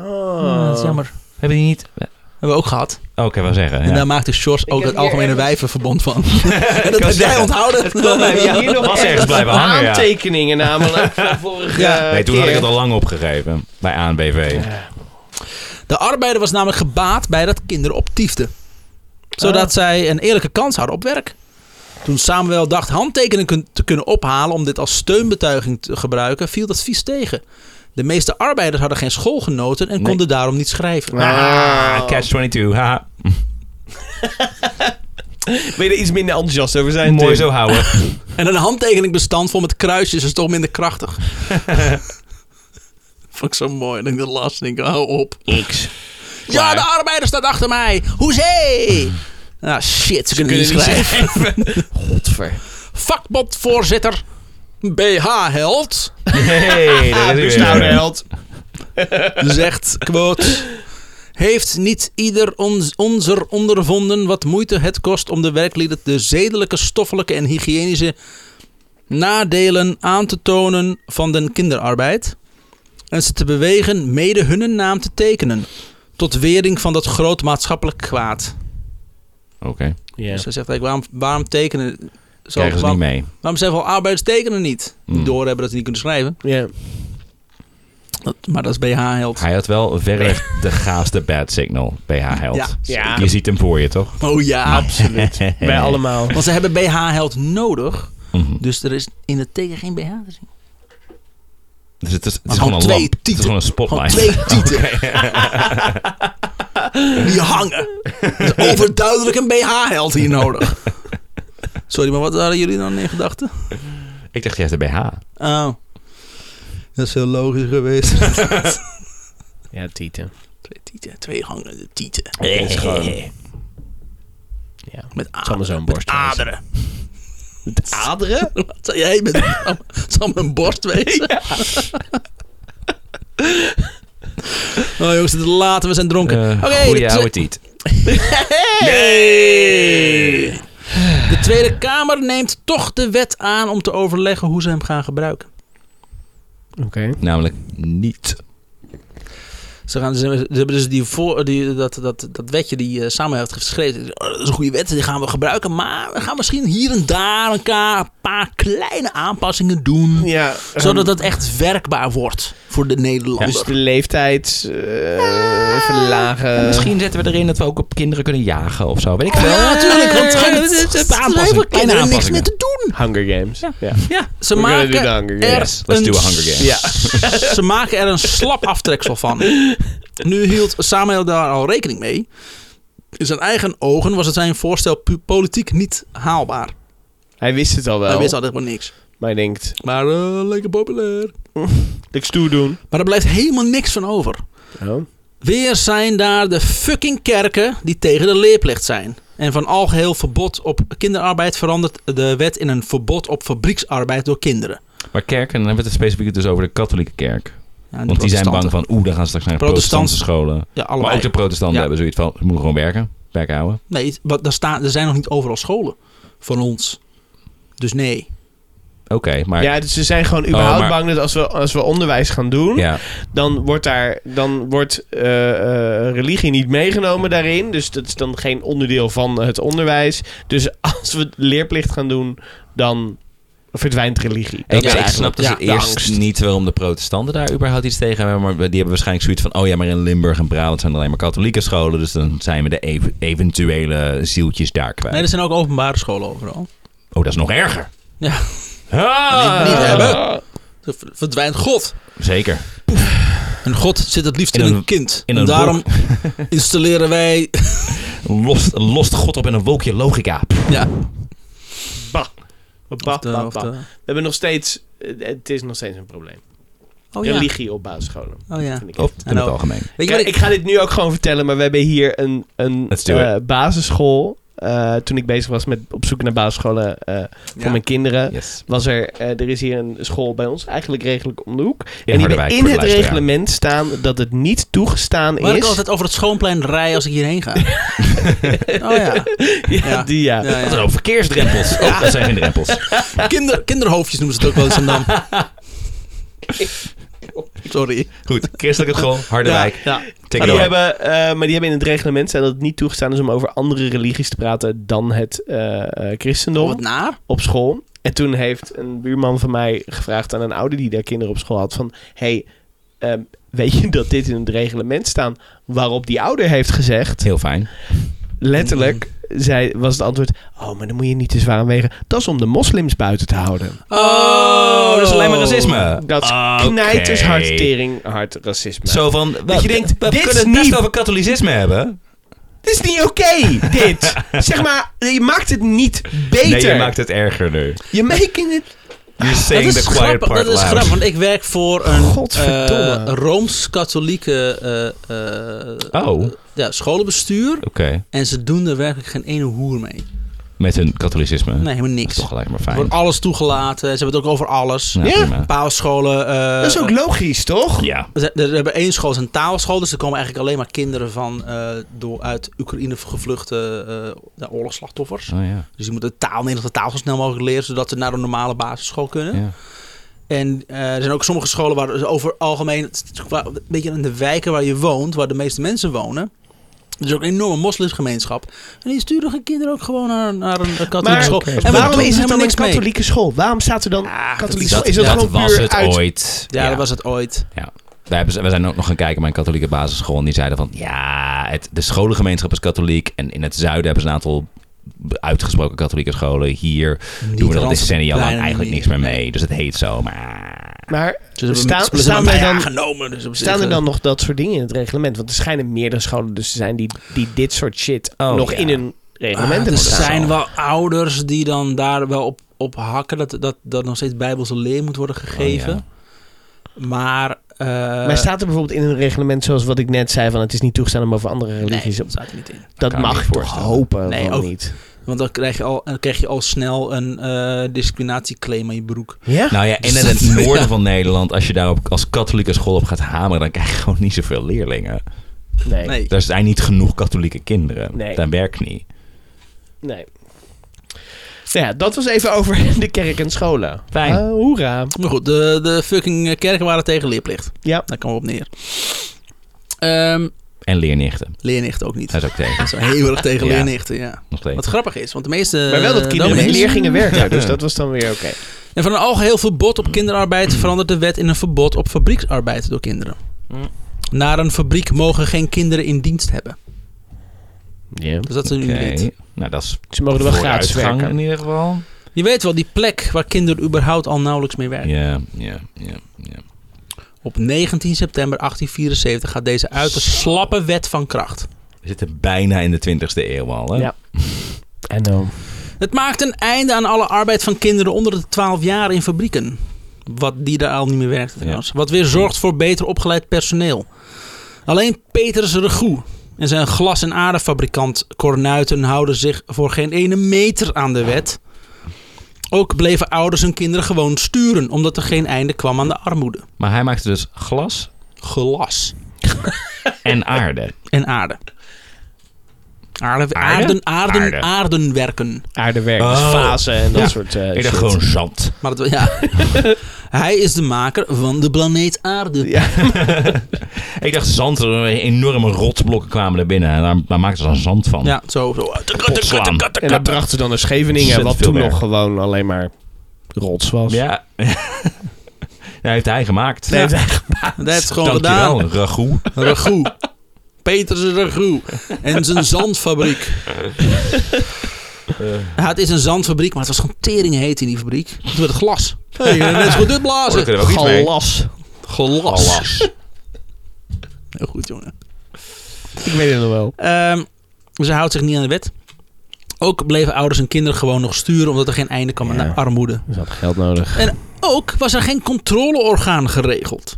dat is Oh. jammer. Hebben die niet... Hebben we ook gehad. Oh, ik kan wel zeggen. En Ja. daar maakte Sjors ook heb het hier Algemene ergens- Wijvenverbond van. en dat heb jij zeggen, onthouden. hier nog Was ergens blijven hangen, ja. aantekeningen namelijk van vorige Ja. Nee, toen had ik keer. het al lang opgegeven. Bij ANBV. De arbeider was namelijk gebaat bij dat kinderen optiefden. Zodat zij een eerlijke kans hadden op werk. Toen Samuel dacht handtekeningen kun- te kunnen ophalen om dit als steunbetuiging te gebruiken, viel dat vies tegen. De meeste arbeiders hadden geen schoolgenoten en Nee. konden daarom niet schrijven. Ah, Catch 22. Haha. Ben je er iets minder enthousiast over zijn, Mooi Tim? zo houden. En een handtekeningbestand vol met kruisjes is toch minder krachtig. Vond ik zo mooi. En ik dat las en ik hou op. X. Ja, de arbeider staat achter mij. Hoezee! Nou, shit. Ze kunnen niet schrijven. Godver. Vakbondvoorzitter. BH-held. Hey, Ah, daar is hij dus nou de weer. held. Zegt, quote... Heeft niet ieder ons, onzer ondervonden wat moeite het kost om de werklieden de zedelijke, stoffelijke en hygiënische nadelen aan te tonen van den kinderarbeid en ze te bewegen mede hun naam te tekenen tot wering van dat groot maatschappelijk kwaad. Oké, Ja. Dus hij zegt eigenlijk, waarom, waarom tekenen... Zo, krijgen ze waarom, niet mee. waarom zijn veel arbeiders tekenen niet? Die Hmm. doorhebben dat ze niet kunnen schrijven. Ja. Dat, maar dat is BH-held. Hij had wel verreweg de gaafste bad signal BH Held. Ja. Ja. Je ziet hem voor je, toch? Oh ja, Absoluut. Bij allemaal. Want ze hebben BH-held nodig. Mhm. Dus er is in het tegen geen BH te zien. Dus het is, het Maar is gewoon een gewoon twee lamp. Het is tieten. gewoon Gewoon een spotlight. twee tieten. Die hangen. Er is overduidelijk een BH-held hier nodig. Sorry, maar wat hadden jullie dan in gedachten? Ik dacht, jij hebt de BH. Oh. Dat is heel logisch geweest. Ja, Tieten. twee tieten, twee hangende tieten. Het is gewoon... Ja. Met zal maar aderen. zo'n borst Met wezen. aderen. Met aderen? Wat zei jij? Met, het zal mijn borst wezen. Oh jongens, het is later. We zijn dronken. Eh, Oké, de goeie twe- oude tiet. De Tweede Kamer neemt toch de wet aan om te overleggen hoe ze hem gaan gebruiken. Oké. Namelijk niet. Ze, gaan, ze, ze hebben dus die voor, die, dat, dat, dat wetje die eh, samen heeft geschreven. Oh, dat is een goede wet, die gaan we gebruiken. Maar we gaan misschien hier en daar een ka- een paar kleine aanpassingen doen. Ja. Zodat dat echt werkbaar wordt voor de Nederlander. Dus de leeftijd eh, verlagen. Misschien zetten we erin dat we ook op kinderen kunnen jagen of zo. Weet ik veel. Ja, natuurlijk. Want Eh, het het is- het is zijn aanpassingen, voor kleine kinderen niks meer aanpassingen. te doen. Hunger Games. Ja. Ja, ze We're gonna do the maken Hunger er Games. Yes, let's do a Hunger Games. Ja. Ze maken er een slap aftreksel van. Nu hield Samuel daar al rekening mee. In zijn eigen ogen was het zijn voorstel pu- politiek niet haalbaar. Hij wist het al wel. Hij wist altijd wel niks. Maar hij denkt, Maar eh, lekker populair. ik stoer doen. Maar er blijft helemaal niks van over. Oh. Weer zijn daar de fucking kerken die tegen de leerplicht zijn. En van algeheel verbod op kinderarbeid verandert de wet in een verbod op fabrieksarbeid door kinderen. Maar kerken, dan hebben we het specifiek dus over de katholieke kerk. Ja, en de Want die zijn bang protestanten. van, oeh, daar gaan ze straks naar de protestantse Protestants- scholen. Ja, Maar allebei. ook de protestanten Ja. hebben zoiets van, ze moeten gewoon werken, werk houden. Nee, wat, daar staan, er zijn nog niet overal scholen van ons. Dus nee. Oké, maar... Oh, Ja, dus ze zijn gewoon überhaupt maar- bang dat als we, als we onderwijs gaan doen, Ja. dan wordt, daar, dan wordt eh, eh, religie niet meegenomen daarin. Dus dat is dan geen onderdeel van het onderwijs. Dus als we leerplicht gaan doen, dan verdwijnt religie. Ik, is ik eigenlijk- snap dus ja, de eerst angst. niet waarom de protestanten daar überhaupt iets tegen hebben. Maar die hebben waarschijnlijk zoiets van... oh ja, maar in Limburg en Brabant zijn alleen maar katholieke scholen... dus dan zijn we de ev- eventuele zieltjes daar kwijt. Nee, er zijn ook openbare scholen overal. Oh, dat is nog erger. Ja. Ah! Niet- niet hebben. Er v- verdwijnt God. Zeker. En God zit het liefst in, In een, een- kind. in en een daarom installeren wij... Lost, lost God op in een wolkje logica. ja, Bah. Bah, of de- bah, of bah. de- We hebben nog steeds... eh, Het is nog steeds een probleem. oh ja. Religie op basisscholen. Oh ja. Vind ik. Of in het Hallo. algemeen. Weet je Kijk, wat ik... ik... ga dit nu ook gewoon vertellen, maar we hebben hier een, een Let's do it. eh, basisschool. Eh, toen ik bezig was met op zoek naar basisscholen eh, voor Ja. mijn kinderen, Yes. was er, eh, er is hier een school bij ons, eigenlijk regelijk om de hoek. en die Harderwijk, hebben in voor de het luisteraar. reglement staan dat het niet toegestaan Waar ik is. altijd over het schoonplein rij als ik hierheen ga. oh ja. ja, Ja. die ja. Ja, Wat een ja. hoop verkeersdrempels. Oh, dat zijn geen drempels. Kinder, kinderhoofdjes noemen ze het ook wel eens in Dam. Sorry. Goed, christelijke school, Harderwijk. Ja. Take Maar it die, away. hebben, eh, maar die hebben in het reglement staan dat het niet toegestaan is om over andere religies te praten dan het eh, eh, christendom. Wat naar? op school. En toen heeft een buurman van mij gevraagd aan een ouder die daar kinderen op school had: van... hey, ehm, weet je dat dit in het reglement staat? Waarop die ouder heeft gezegd, Heel fijn. letterlijk, Mm-hmm. zei, was het antwoord... Oh, maar dan moet je niet te zwaar aan wegen. Dat is om de moslims buiten te houden. Oh, dat is alleen maar racisme. Dat is Oké. knijtershard, tering, hard racisme. Zo van, Dat je denkt, we dit kunnen het is best niet- over katholicisme hebben. Dit is niet oké, dit. Zeg maar, je maakt het niet beter. Nee, je maakt het erger nu. Je making it Ah, You're Dat saying is, the quiet grappig, part dat is loud. grappig, want ik werk voor een Godverdomme. eh, Rooms-katholieke eh, eh, Oh. ja, scholenbestuur. Oké, En ze doen er werkelijk geen ene hoer mee. met hun katholicisme. Nee, helemaal Dat is niks. toch gelijk maar Er fijn. wordt alles toegelaten. Ze hebben het ook over alles. Nou, Ja. prima. Paalscholen. eh, Dat is ook logisch, toch? Ja. Ze- Er hebben één school, is een taalschool, dus er komen eigenlijk alleen maar kinderen van eh, door uit Oekraïne gevluchte eh, ja, oorlogsslachtoffers. Oh ja. Dus die moeten de taal, Nederlandse taal zo snel mogelijk leren, zodat ze naar een normale basisschool kunnen. ja. En eh, er zijn ook sommige scholen waar dus over het algemeen, het is qua- een beetje in de wijken waar je woont, waar de meeste mensen wonen. Er is ook een enorme moslimgemeenschap. En die sturen hun kinderen ook gewoon naar, naar een katholieke Maar school. oké. En we Waarom doen is het helemaal dan een niks mee. katholieke school? Waarom staat er dan Ah, katholieke dat- school? Is dat, dat gewoon was puur het uit... ooit. Ja, dat was het ooit. Wij, hebben, wij zijn ook nog gaan kijken bij een katholieke basisschool. En die zeiden van, ja, het, de scholengemeenschap is katholiek. En in het zuiden hebben ze een aantal uitgesproken katholieke scholen. Hier doen we er al decennia lang eigenlijk niks meer mee. Dus het heet zo, maar... Maar Dus Ze hebben Dus staan, staan, staan, er dan, genomen. Dus op zich, staan er eh, dan nog dat soort dingen in het reglement? Want er schijnen meerdere scholen dus te zijn die, die dit soort shit Oh, nog ja. in hun Ah, reglement er hebben staan. zijn wel ouders die dan daar wel op, op hakken dat, dat, dat nog steeds bijbelse leer moet worden gegeven. Oh, Maar. eh maar staat er bijvoorbeeld in een reglement, zoals wat ik net zei, van het is niet toegestaan om over andere nee, religies... dat op- staat er niet in. dat kan ik mag me ik toch voorstellen. hopen, Nee, van ook- niet. Want dan krijg je al, dan krijg je al snel een eh, discriminatieclaim aan je broek. Ja? Nou ja, en in het noorden van Nederland, als je daar op, als katholieke school op gaat hameren, dan krijg je gewoon niet zoveel leerlingen. Nee. nee. Nee. Er zijn niet genoeg katholieke kinderen. Nee. Dat werkt niet. Nou ja, dat was even over de kerk en scholen. Fijn. Ah, hoera. Maar goed, de, de fucking eh, kerken waren tegen leerplicht. Ja. Daar kwam op neer. Ehm En leernichten. leernichten ook niet. Dat is ook tegen. Ze zijn heel erg tegen Ja. leernichten, ja. Nog steeds. Wat grappig is, want de meeste. Maar wel dat eh, kinderen met dominees- leer gingen werken, Ja. dus dat was dan weer oké. En van een algeheel verbod op kinderarbeid verandert de wet in een verbod op fabrieksarbeid door kinderen. Mm. Naar een fabriek mogen geen kinderen in dienst hebben. Ja. Dus dat is nu Oké. niet. Nou, dat is Ze mogen er wel gratis vooruitgang werken. in ieder geval. Je weet wel, die plek waar kinderen überhaupt al nauwelijks mee werken. Ja, ja, ja. ja. Op 19 september 1874 gaat deze uiterst slappe wet van kracht. We zitten bijna in de 20ste eeuw al. Hè? Ja. En dan. Het maakt een einde aan alle arbeid van kinderen onder de 12 jaar in fabrieken. Wat die daar al niet meer werkte trouwens. Wat weer zorgt voor beter opgeleid personeel. Alleen Petrus Regoe, En zijn glas- en aardefabrikant Kornuiten houden zich voor geen ene meter aan de wet. Ook bleven ouders hun kinderen gewoon sturen, omdat er geen einde kwam aan de armoede. Maar hij maakte dus glas Glas en aarde. en aarde. Aarde, Aarde? aarden, aarden, Aarde. aardenwerken. Aardewerkers, Oh. fasen dus en dat Ja. soort eh Ik shit. dacht gewoon zand. Maar dat, ja. Hij is de maker van de planeet Aarde. Ja. Ik dacht zand, er enorme rotsblokken kwamen er binnen. En daar, daar maakten ze dan zand van. Ja, zo. zo. Potslaan. En dat brachten ze dan naar Scheveningen, Ontzettend wat veel toen werk. nog gewoon alleen maar rots was. Ja. Dat heeft hij gemaakt. Ja. Dat heeft het gewoon gedaan. Dankjewel, ragout. Ragout. Peters Ragout. En zijn zandfabriek. Ja, het is een zandfabriek, maar het was gewoon tering heet in die fabriek. Het werd glas. Hé, hey, net zo goed dit Oh, daar blazen. kunnen we ook iets mee. Glas. Glas. Alas. Heel goed, jongen. Ik weet het nog wel. Ehm, ze houdt zich niet aan de wet. Ook bleven ouders en kinderen gewoon nog sturen, omdat er geen einde kwam aan Ja. de armoede. Ze had geld nodig. Ook was er geen controleorgaan geregeld.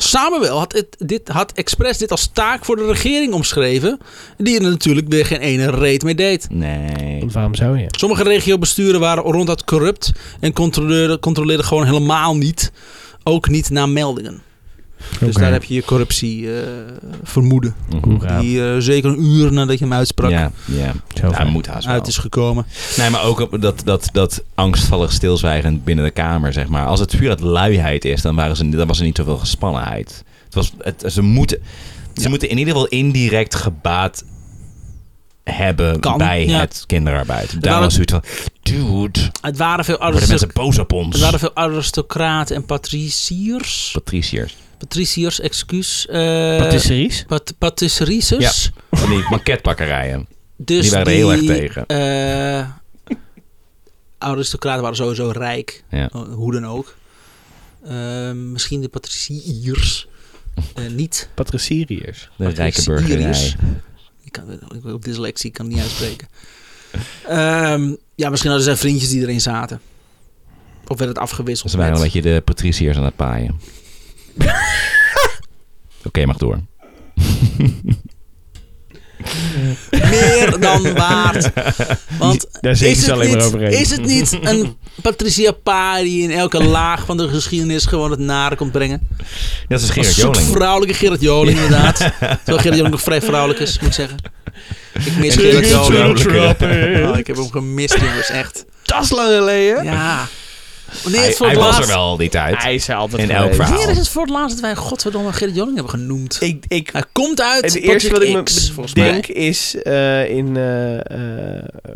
Samuel had, het, dit, had expres dit als taak voor de regering omschreven, die er natuurlijk weer geen ene reet mee deed. Nee. Want waarom zou je? Sommige regiobesturen waren ronduit corrupt en controleerden, controleerden gewoon helemaal niet. Ook niet na meldingen. Dus daar heb je je corruptie eh, vermoeden. Hoera. Die eh, zeker een uur nadat je hem uitsprak Ja, ja. Zo Hij fijn. moet haast wel. uit is gekomen. Nee, maar ook op dat, dat, dat angstvallig stilzwijgen binnen de kamer, zeg maar. Als het puur uit luiheid is, dan, waren ze, dan was er niet zoveel gespannenheid. Het was, het, ze moeten, ze moeten in ieder geval indirect gebaat hebben Kan, bij ja. het kinderarbeid. Daar waren- Oh, was zoiets van, dude, Het waren veel, worden aristocra- mensen boos op het ons. waren veel aristocraten en patriciërs. Patriciërs. Patriciërs, excuus. eh, Patisseries? pat patisseries. Van die banketbakkerijen. Dus Die waren er heel erg tegen. eh, aristocraten waren sowieso rijk. Ja. Oh, Hoe dan ook. Eh, misschien de patriciërs. Eh, niet. Patriciërs. De rijke Patriciërs. burgerij. Ik kan, ik ben op dyslexie ik kan het niet uitspreken. Ehm, ja, misschien hadden zij vriendjes die erin zaten. Of werd het afgewisseld? Ze waren een met- beetje de patriciërs aan het paaien. Oké, mag door. meer dan waard. Want Daar is, zingen het ze alleen maar niet, overheen. is het niet een Patricia Paar die in elke laag van de geschiedenis gewoon het nare komt brengen? Dat is Een Gerard soort Joling. vrouwelijke Gerrit Joling, inderdaad. Terwijl Gerrit Joling nog vrij vrouwelijk is, moet ik zeggen. Ik mis Ik Gerrit mis Gerrit Joling. Joling. Oh, ik heb hem gemist, jongens, echt. Dat is lang geleden. Ja. Wanneer is Hij, het voor hij het was er laatst? wel al die tijd. Hij is er altijd In elk geweest. verhaal. Wanneer is het voor het laatst dat wij godverdomme Gerrit Joling hebben genoemd? Ik, ik, Hij komt uit het eerste wat Project ik me X, volgens mij. denk is eh, in, eh, eh,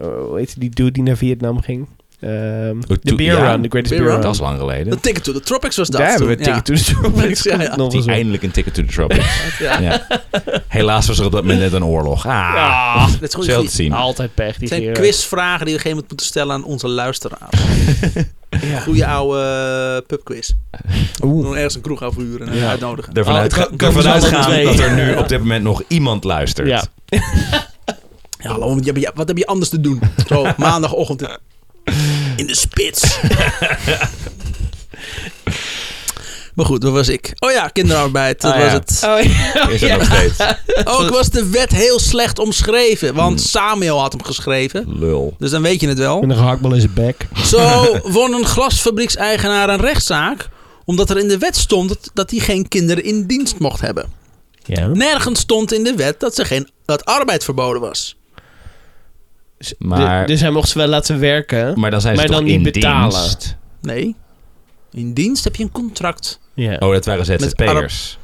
hoe heet die dude die naar Vietnam ging? Ehm, Oh, de to- Beer ja. Run, de Greatest Beer Beer Run. Run. Dat is lang geleden. De Ticket to the Tropics was dat. Daar hebben we toen, ja. Ticket to the Tropics Ja, ja. nog Die eens op. eindelijk een ticket to the tropics. Ja. ja. Helaas was er op dat moment net een oorlog. Ah, Ah, Dat is gewoon zelden iets- te zien. altijd pech, die Het zijn Gerard. quizvragen die we op een gegeven moment moeten stellen aan onze luisteraars. Goeie oude eh, pubquiz. We Oeh. doen ergens een kroeg afhuren en Ja. uitnodigen. Ervan Oh, uit- dat- dat ervan is altijd uitgaan twee. dat er nu op dit moment nog iemand luistert. Ja. Ja, hallo, want je hebt- ja, wat heb je anders te doen? Zo, maandagochtend. In de spits. maar goed, dat was ik. Oh ja, kinderarbeid, dat Ah, was ja. het. Oh, Is er nog steeds. Ook was de wet heel slecht omschreven, want Samuel had hem geschreven. Lul. Dus dan weet je het wel. Met een gehaktbal Hmm. in zijn bek. Zo won een glasfabriekseigenaar een rechtszaak omdat er in de wet stond dat- dat hij geen kinderen in dienst mocht hebben. Ja. Nergens stond in de wet dat, ze geen, dat arbeid verboden was. Maar- dus hij mocht ze wel laten werken. Maar dan zijn ze Maar toch dan in niet betalen. dienst? Nee. In dienst heb je een contract. Ja. Oh, dat waren Arab- ZZP'ers.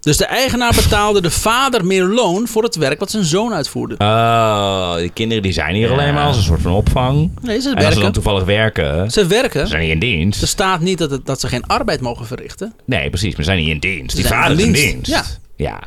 Dus de eigenaar betaalde de vader meer loon voor het werk wat zijn zoon uitvoerde. Oh, die kinderen die zijn hier Ja. alleen maar als een soort van opvang. Nee, ze En als ze dan werken. toevallig werken, Ze ze werken. zijn niet in Er dienst. staat niet dat, het- dat ze geen arbeid mogen verrichten. Nee, precies, maar ze zijn niet in dienst. Die Ze zijn vader in is in dienst. dienst. Ja.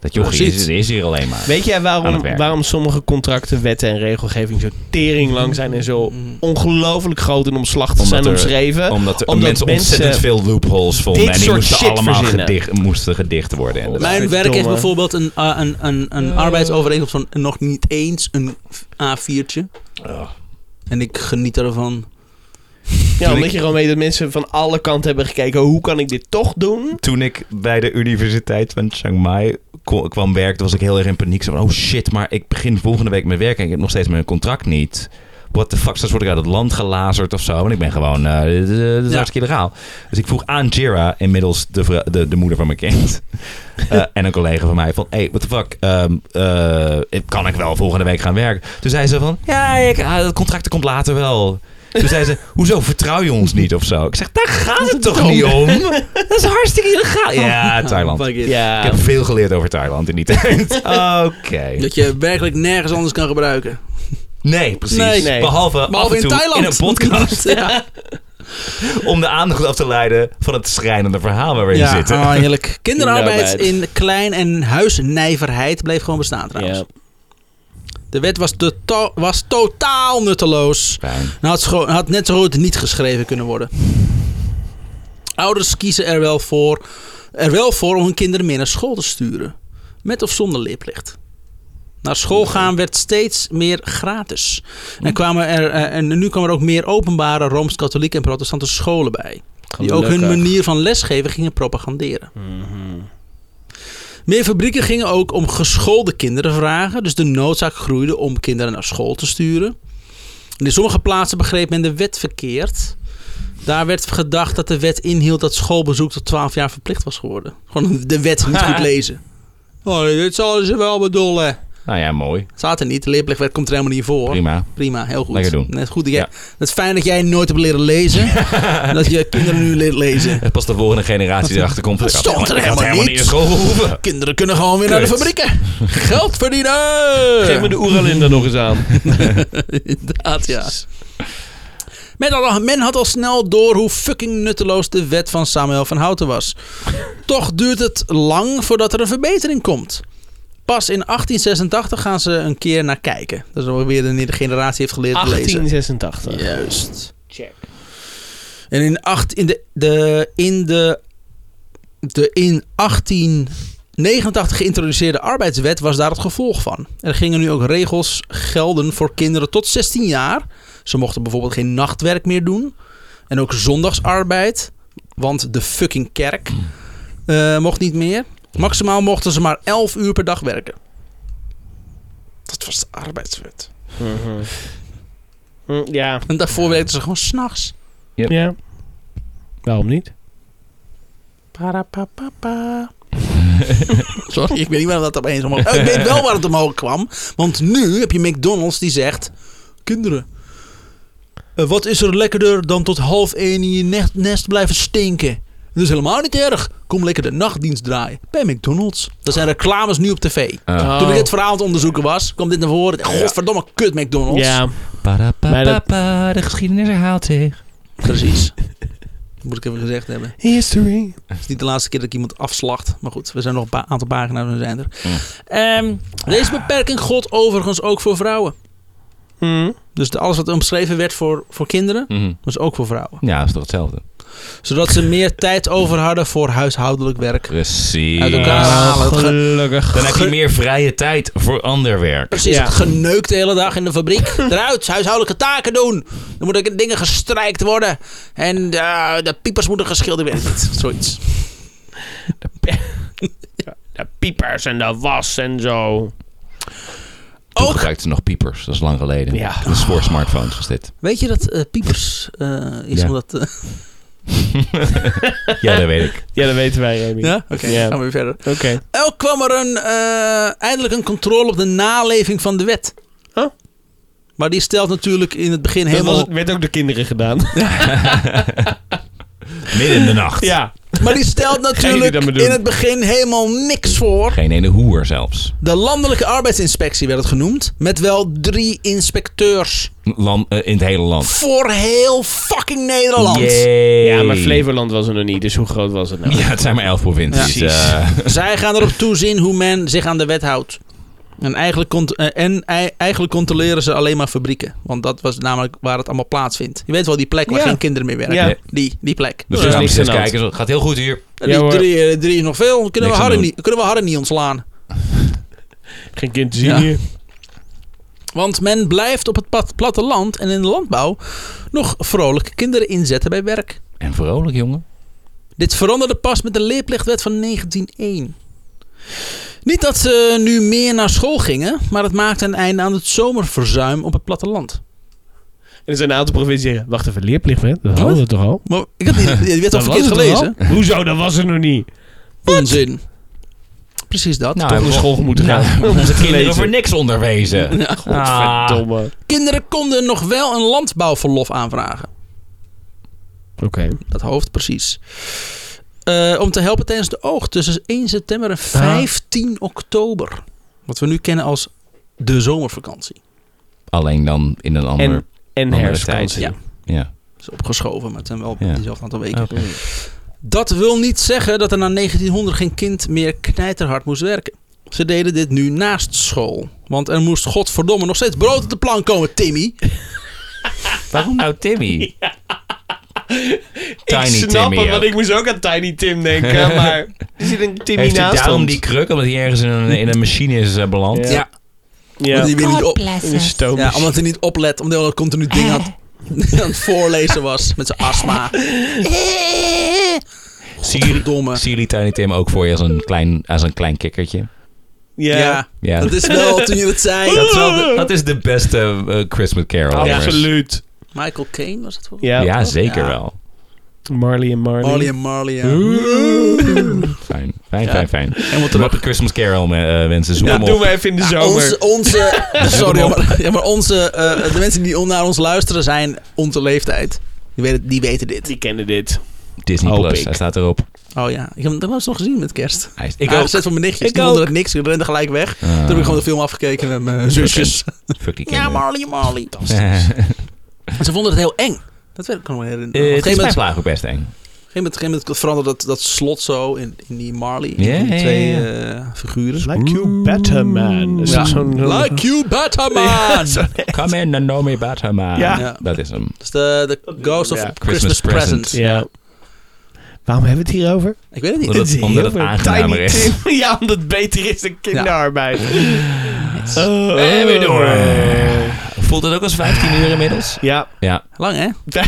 Dat jochie Precies. is, is hier alleen maar. Weet jij Aan waarom, het werk. waarom sommige contracten, wetten en regelgeving zo tering lang zijn en zo ongelooflijk groot en omslachtig Omdat zijn er- omschreven? Omdat er Omdat mensen mensen ontzettend veel loopholes vonden. dit En die soort moesten shit allemaal verzinnen. gedicht, moesten gedicht worden. inderdaad. Mijn werk heeft Verdomme. bijvoorbeeld een, ah, een, een, een arbeidsovereenkomst van nog niet eens een A4'tje. Oh. En ik geniet ervan. ja, omdat je gewoon weet dat mensen van alle kanten hebben gekeken, hoe kan ik dit toch doen? Toen ik bij de Universiteit van Chiang Mai ko- kwam werken, toen was ik heel erg in paniek. Zo van, oh shit, maar ik begin volgende week met werken en ik heb nog steeds mijn contract niet. What the fuck, straks word ik uit het land gelazerd of zo. En ik ben gewoon, eh, dit is, eh, dit is Ja. hartstikke illegaal. Dus ik vroeg aan Jira, inmiddels de, vra- de, de moeder van mijn kind. eh, en een collega van mij van, hey, what the fuck, ehm, eh, kan ik wel volgende week gaan werken? Toen zei ze van, ja, ik, ah, dat contract komt later wel. Toen zei ze, hoezo vertrouw je ons niet of zo? Ik zeg, daar gaat het toch niet om? Dat is hartstikke illegaal. Ja, Thailand. Fuck it. Ja, Ik heb veel geleerd over Thailand in die tijd. Oké. Dat je werkelijk nergens anders kan gebruiken. Nee, precies. Nee, nee. Behalve, af Behalve en in toe Thailand. in een podcast. ja. om de aandacht af te leiden van het schrijnende verhaal waar we in ja. zitten. ah, heerlijk. Kinderarbeid Kinderarbeid. in klein- en huisnijverheid bleef gewoon bestaan trouwens. ja. De wet was, tota- was totaal nutteloos. Fijn. En had, scho- had net zo goed niet geschreven kunnen worden. Ouders kiezen er wel voor, er wel voor om hun kinderen meer naar school te sturen. Met of zonder leerplicht. Naar school gaan werd steeds meer gratis. En, kwamen er, eh, en nu kwamen er ook meer openbare Rooms-Katholieke en Protestante scholen bij. Die ook hun Gelukkig. manier van lesgeven gingen propaganderen. Mhm. Meer fabrieken gingen ook om geschoolde kinderen vragen. Dus de noodzaak groeide om kinderen naar school te sturen. En in sommige plaatsen begreep men de wet verkeerd. Daar werd gedacht dat de wet inhield dat schoolbezoek tot 12 jaar verplicht was geworden. Gewoon de wet niet goed lezen. Oh, dit zullen ze wel bedoelen. Nou ja, mooi. Staat er niet. De leerplichtwet komt er helemaal niet voor. Prima. Prima, heel goed. Lekker doen. Net goed. dat jij- Ja. Het is fijn dat jij nooit hebt leren lezen. En dat je kinderen nu leert lezen. Pas de volgende generatie erachter komt. Dat ik had stond er ik had helemaal niet niet. in school gehoeven. Kinderen kunnen gewoon weer naar de Kut. fabrieken. Geld Geef me verdienen! de Oeralin er nog eens aan. Inderdaad, ja. Men had, al, men had al snel door hoe fucking nutteloos de wet van Samuel van Houten was. Toch duurt het lang voordat er een verbetering komt. Pas in 1886 gaan ze een keer naar kijken. Dat is alweer de de generatie heeft geleerd te lezen. 1886. Juist. Check. En in, acht, in, de, de, in, de, de in 1889 geïntroduceerde arbeidswet was daar het gevolg van. Er gingen nu ook regels gelden voor kinderen tot 16 jaar. Ze mochten bijvoorbeeld geen nachtwerk meer doen. En ook zondagsarbeid, want de fucking kerk eh, mocht niet meer. Maximaal mochten ze maar 11 uur per dag werken. Dat was de arbeidswet. Mhm. Mm, Ja. En daarvoor werkten ze gewoon s'nachts. ja. Waarom niet? Sorry, ik weet niet waar dat opeens omhoog kwam. Ik weet wel waar het omhoog kwam. Want nu heb je McDonald's die zegt... Kinderen, eh, wat is er lekkerder dan tot half één in je nest, nest blijven stinken? Dat is helemaal niet erg. Kom lekker de nachtdienst draaien bij McDonald's. Dat zijn reclames nu op tv. Oh. Ah. Toen ik dit verhaal aan het onderzoeken was, kwam dit naar voren. Godverdomme, kut McDonald's. Ja. Maar dat- Parapapapa, de geschiedenis herhaalt zich. Precies. Dat moet ik even gezegd hebben. History. Het is niet de laatste keer dat ik iemand afslacht. Maar goed, we zijn nog een paar, aantal pagina's en we zijn er. Mm. Ehm, deze beperking gold overigens ook voor vrouwen. Mhm. Dus de- alles wat omschreven werd voor, voor kinderen, Mhm. was ook voor vrouwen. Ja, dat is toch hetzelfde? Zodat ze meer tijd over hadden voor huishoudelijk werk. Precies. Uit elkaar Ah, halen. Het ge- Gelukkig. Dan heb je meer vrije tijd voor ander werk. Precies, Ja. het geneukt de hele dag in de fabriek. Eruit, huishoudelijke taken doen. Dan moeten dingen gestrijkt worden. En eh, de piepers moeten geschilderd worden. Zoiets. De piepers en de was en zo. Toen Ook- gebruikten ze nog piepers, dat is lang geleden. Ja. Dat is voor smartphones was dit. Weet je dat eh, piepers eh, is Ja. omdat... eh, Ja, dat weet ik. Ja, dat weten wij, Remy. ja? Oké, Ja. gaan we weer verder. Oké. Ook kwam er een, eh, eindelijk een controle op de naleving van de wet. Huh? Maar die stelt natuurlijk in het begin Dat helemaal... was, het- werd ook de kinderen gedaan. Midden in de nacht. ja. Maar die stelt natuurlijk dat maar doen. in het begin helemaal niks voor. Geen ene hoer zelfs. De landelijke arbeidsinspectie werd het genoemd. Met wel drie inspecteurs. Land, eh, in het hele land. Voor heel fucking Nederland. Yay. ja, maar Flevoland was er nog niet, dus hoe groot was het nou? Ja, het zijn maar elf provincies. Ja. Precies. eh. Zij gaan erop toezien hoe men zich aan de wet houdt. En eigenlijk, cont- eh, en ei- eigenlijk controleren ze alleen maar fabrieken. Want dat was namelijk waar het allemaal plaatsvindt. Je weet wel, die plek waar Ja. geen kinderen meer werken. Ja. Die, die plek. dus Ja. we gaan Niks steeds aan de hand. kijken. Het gaat heel goed hier. En die Ja, hoor. drie, eh, drie is nog veel. Kunnen Niks we, aan harder doen. niet, kunnen we harder niet ontslaan. Geen kind te zien Ja. hier. Want men blijft op het plat- platteland en in de landbouw nog vrolijke kinderen inzetten bij werk. En vrolijk, jongen. Dit veranderde pas met de leerplichtwet van 1901. Niet dat ze nu meer naar school gingen, maar het maakte een einde aan het zomerverzuim op het platteland. En er zijn een aantal provincies die zeggen, wacht even, leerplicht, hè? Dat hadden we toch al? Maar ik had niet, je werd al Dat verkeerd was het gelezen. toch al? Hoezo, dat was er nog niet. Onzin. Precies dat. Nou, Toch hij naar school moeten Nou, gaan. Om te kinderen voor lezen. niks onderwezen. Nou. Ja. Ah, Godverdomme. Kinderen konden nog wel een landbouwverlof aanvragen. Oké. Dat hoofd, precies. Eh, om te helpen tijdens de oog tussen 1 september en Ah. 15 oktober. Wat we nu kennen als de zomervakantie. alleen dan in een ander... En, en Andere herfstvakantie. tijd, ja. Dat is opgeschoven, maar het zijn wel Ja. diezelfde aantal weken. Oké. Dat wil niet zeggen dat er na 1900 geen kind meer knijterhard moest werken. Ze deden dit nu naast school. Want er moest godverdomme nog steeds brood op de plank komen, Timmy. Waarom nou Timmy? Tiny ik snap Timmy het, want ook. ik moest ook aan Tiny Tim denken, maar er zit een Timmy Heeft hij naast daarom ons. die kruk? Omdat hij ergens in een, in een machine is eh, beland? Ja. ja. omdat hij weer niet op. in een Oh, stoom. Ja, omdat hij niet oplet, omdat hij al continu dingen aan het- aan het voorlezen was met zijn astma. Siri, Domme. Siri Tiny Tim ook voor je als een klein, als een klein kikkertje. ja. Ja. Ja. dat is wel toen je het zei. Dat is, wel de, dat is de beste eh, Christmas Carol. Ja. ever. Absoluut. Michael Caine was het voor? Ja. Ja, zeker Ja. wel. Marley en Marley. Marley en Marley. ja. Fijn, fijn, Ja. fijn, fijn. En wat er nog- Mag Christmas Carol eh, wensen? Zoek Dat hem doen op. we even in de Ja, zomer. onze, onze, sorry, Kom op. maar, ja, maar onze, eh, de mensen die on- naar ons luisteren zijn onze leeftijd. Die weten, die weten dit. Die kennen dit. Disney Hoop Plus, ik. hij staat erop. Oh ja, ik heb hem was nog gezien met kerst. Hij is, ik ook. Aangezet voor mijn nichtjes, Ik die vonden ook. het niks. Die renden gelijk weg. Toen heb ik gewoon de film afgekeken met mijn Ah, Fucking zusjes. Fuck die Ja, kinderen. Marley, Marley. En ze vonden het heel eng. Dat weet ik nog wel herinneren. Eh, Op een het is gegeven mijn moment- slaag ook best eng. op een gegeven moment veranderde dat, dat slot zo in, in die Marley. in Ja, die ja, ja, twee ja. eh, figuren. Like you better, man. Is Ja. dat zo'n- Like you better, man! Come in and know me better, man. Ja. Ja. Dat is hem. Dat is Dus de, de Ghost of Ja. Christmas, Christmas Present. present. Ja. Waarom hebben we het hier over? Ik weet het niet. Dat- is omdat heel het veel aangenamer Tiny is. Tim. Ja, omdat het beter is dan kinderarbeid. Oh. En weer door. Voelt het ook als 15 uur inmiddels? Ja, Ja. Lang, hè? Ja.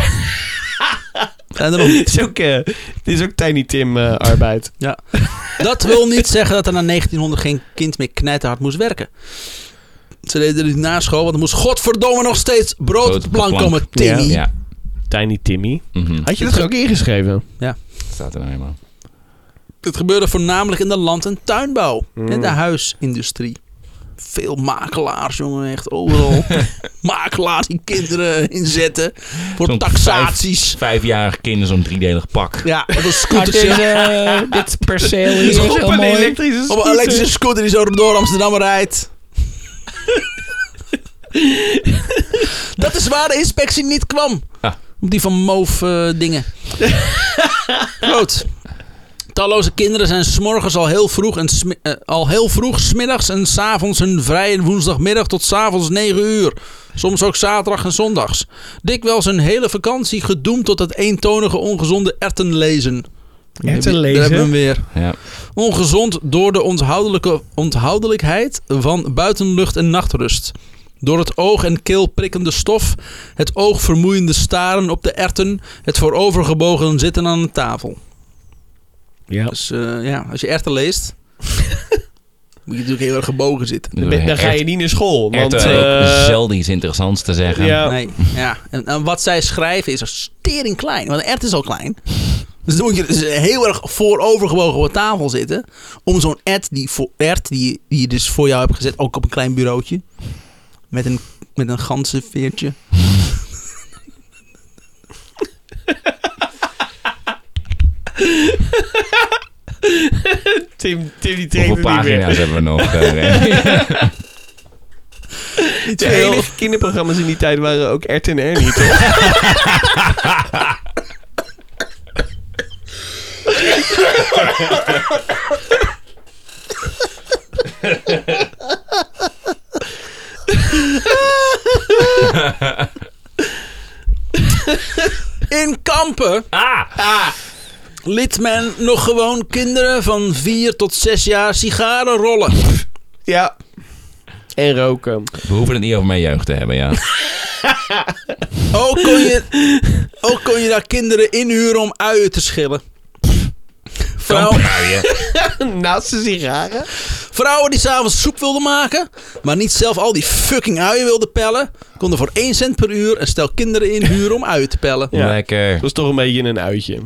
Zijn er nog niet. het is ook, eh, het is ook Tiny Tim eh, arbeid. Dat wil niet zeggen dat er na 1900 geen kind meer knijterhard moest werken. Ze deden dit na school, want er moest godverdomme nog steeds brood op de plank komen, Timmy. Ja. Tiny Timmy. Mhm. Had je dat er ook ingeschreven? Staat er nou helemaal. Dit gebeurde voornamelijk in de land- en tuinbouw. Mm. En de huisindustrie. Veel makelaars, jongen, echt overal. makelaars die kinderen inzetten voor Zo'n taxaties. Vijfjarig kind in zo'n driedelig pak. Ja, op een scootertje. dit perceel is heel Op een elektrische Op een scooter. elektrische scooter die zo door Amsterdam rijdt. Dat is waar de inspectie niet kwam. Ah. Op die van moof eh, dingen. Groot. Talloze kinderen zijn s'morgens al heel vroeg en smi- eh, al heel vroeg, smiddags en s'avonds hun vrije woensdagmiddag tot s'avonds 9 uur. Soms ook zaterdag en zondags. Dikwijls hun hele vakantie gedoemd tot het eentonige ongezonde ertenlezen. Ertenlezen? Daar hebben we hem weer. Ja. Ongezond door de onthoudelijke onthoudelijkheid van buitenlucht en nachtrust. Door het oog en keel prikkende stof, het oog vermoeiende staren op de erten, het voorovergebogen zitten aan een tafel. Ja. Dus eh, ja, als je erten leest, moet je natuurlijk heel erg gebogen zitten. Dan, dan ga je niet naar school. Want, Want, eh, zelden iets interessants te zeggen. ja. Nee, ja. En, en wat zij schrijven is stering klein, want een ert is al klein. Dus dan moet je dus heel erg voorovergebogen op een tafel zitten. Om zo'n ert die, voor, ert die, die je dus voor jou hebt gezet, ook op een klein bureautje. Met een, met een ganzenveertje. Tim, Tim die trainde Hoeveel niet meer. pagina's hebben we nog? eh, Ren? De enige kinderprogramma's in die tijd waren ook Ert en Ernie, toch? In Kampen Ah. liet men nog gewoon kinderen van 4 tot 6 jaar sigaren rollen. ja. En roken. we hoeven het niet over mijn jeugd te hebben, ja. Ook kon je, ook kon je daar kinderen inhuren om uien te schillen. Vrouw, Kampuien. Naast de sigaren? Vrouwen die s'avonds soep wilden maken, maar niet zelf al die fucking uien wilden pellen, konden voor 1 cent per uur een stel kinderen inhuren om uien te pellen. Ja. Lekker. Dat is toch een beetje een uitje.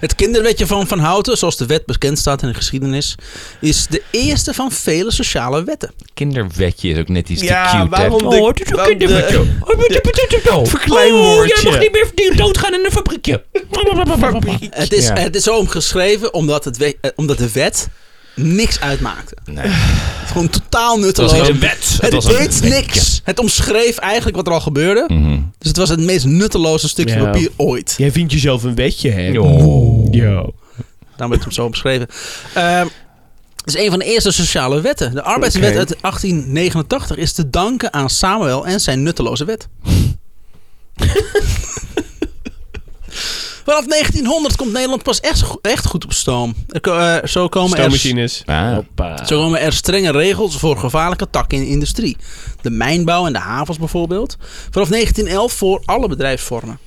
Het kinderwetje van Van Houten, zoals de wet bekend staat in de geschiedenis, is de eerste van vele sociale wetten. Kinderwetje is ook net iets Ja, te cute, hè? waarom de- Oh, het is een waarom de- kinderwetje. Oh, wat je bedoelt nou? Verkleinwoordje. Oh, jij mag niet meer verdiend doodgaan in een fabriekje. Het is, Ja. het is zo omgeschreven omdat, het we- eh, omdat de wet niks uitmaakte. Nee, het Het is gewoon totaal was nutteloos. niet een wet. Het, was een deed niks. Het omschreef eigenlijk wat er al gebeurde. Mhm. Dus het was het meest nutteloze stukje Ja. papier ooit. Jij vindt jezelf een wetje, hè? Oh. Yo. Daarom werd het zo omschreven. Ehm, het is een van de eerste sociale wetten. De arbeidswet Oké. uit 1889 is te danken aan Samuel en zijn nutteloze wet. Vanaf 1900 komt Nederland pas echt, go- echt goed op stoom. Er ko- eh, zo, komen er, Stoommachines. Ah. Hoppa. zo komen er strenge regels voor gevaarlijke takken in de industrie. De mijnbouw en de havens bijvoorbeeld. Vanaf 1911 voor alle bedrijfsvormen.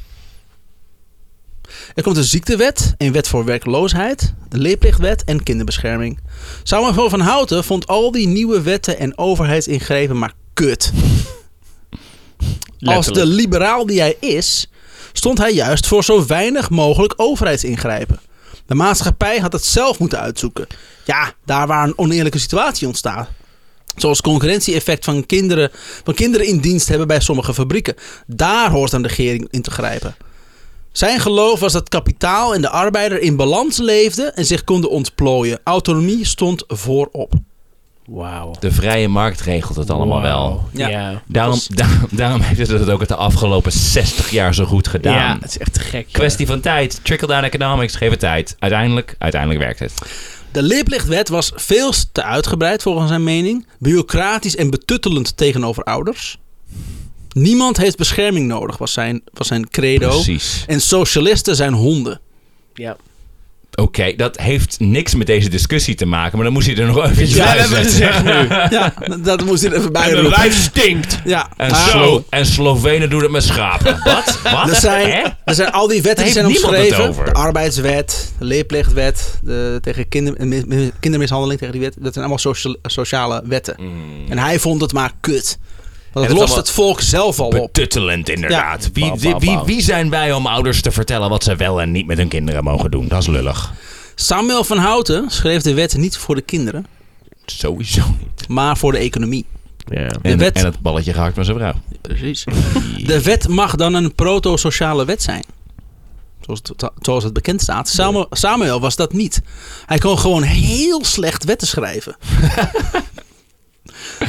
Er komt een ziektewet, een wet voor werkloosheid, de leerplichtwet en kinderbescherming. Samuel van Houten vond al die nieuwe wetten en overheidsingrepen maar kut. Als de Letterlijk. liberaal die hij is, stond hij juist voor zo weinig mogelijk overheidsingrijpen. De maatschappij had het zelf moeten uitzoeken. Ja, daar waar een oneerlijke situatie ontstaat. Zoals concurrentieeffect van kinderen, van kinderen in dienst hebben bij sommige fabrieken. Daar hoort een regering in te grijpen. Zijn geloof was dat kapitaal en de arbeider in balans leefden en zich konden ontplooien. Autonomie stond voorop. Wauw. De vrije markt regelt het allemaal wel. Wauw. Ja. Daarom, da- daarom heeft het het ook het de afgelopen 60 jaar zo goed gedaan. Ja, het is echt te gek. ja. Kwestie van tijd. Trickle-down economics. Geef het tijd. Uiteindelijk, uiteindelijk werkt het. De leerplichtwet was veel te uitgebreid volgens zijn mening, bureaucratisch en betuttelend tegenover ouders. Niemand heeft bescherming nodig, was zijn, was zijn credo. Precies. En socialisten zijn honden. Ja. Oké, dat heeft niks met deze discussie te maken, maar dan moest hij er nog eventjes bij zetten. Ja, dat moest er even bij En mijn roepen. wijf stinkt. Ja, En, maar Slo en Slovenen doen het met schapen. Wat? Wat? Nou. er Hè? zijn, er zijn al die wetten die Daar zijn heeft niemand het omschreven. over. De arbeidswet, de leerplichtwet, de, tegen kinder, en mis- mis- kindermishandeling tegen die wet. Dat zijn allemaal socia- sociale wetten. Mm. En hij vond het maar kut. Want het dat lost allemaal- het volk zelf al op. Betuttelend inderdaad. Ja. Wie, Bam, wie, bam, wie, bam. wie zijn wij om ouders te vertellen wat ze wel en niet met hun kinderen mogen doen? Dat is lullig. Samuel van Houten schreef de wet niet voor de kinderen, Sowieso niet. maar voor de economie. Ja. De En, wet- en het balletje gehakt met zijn vrouw. Precies. De wet mag dan een proto-sociale wet zijn. Zoals het, zoals het bekend staat. Samuel, Samuel was dat niet. Hij kon gewoon heel slecht wetten schrijven.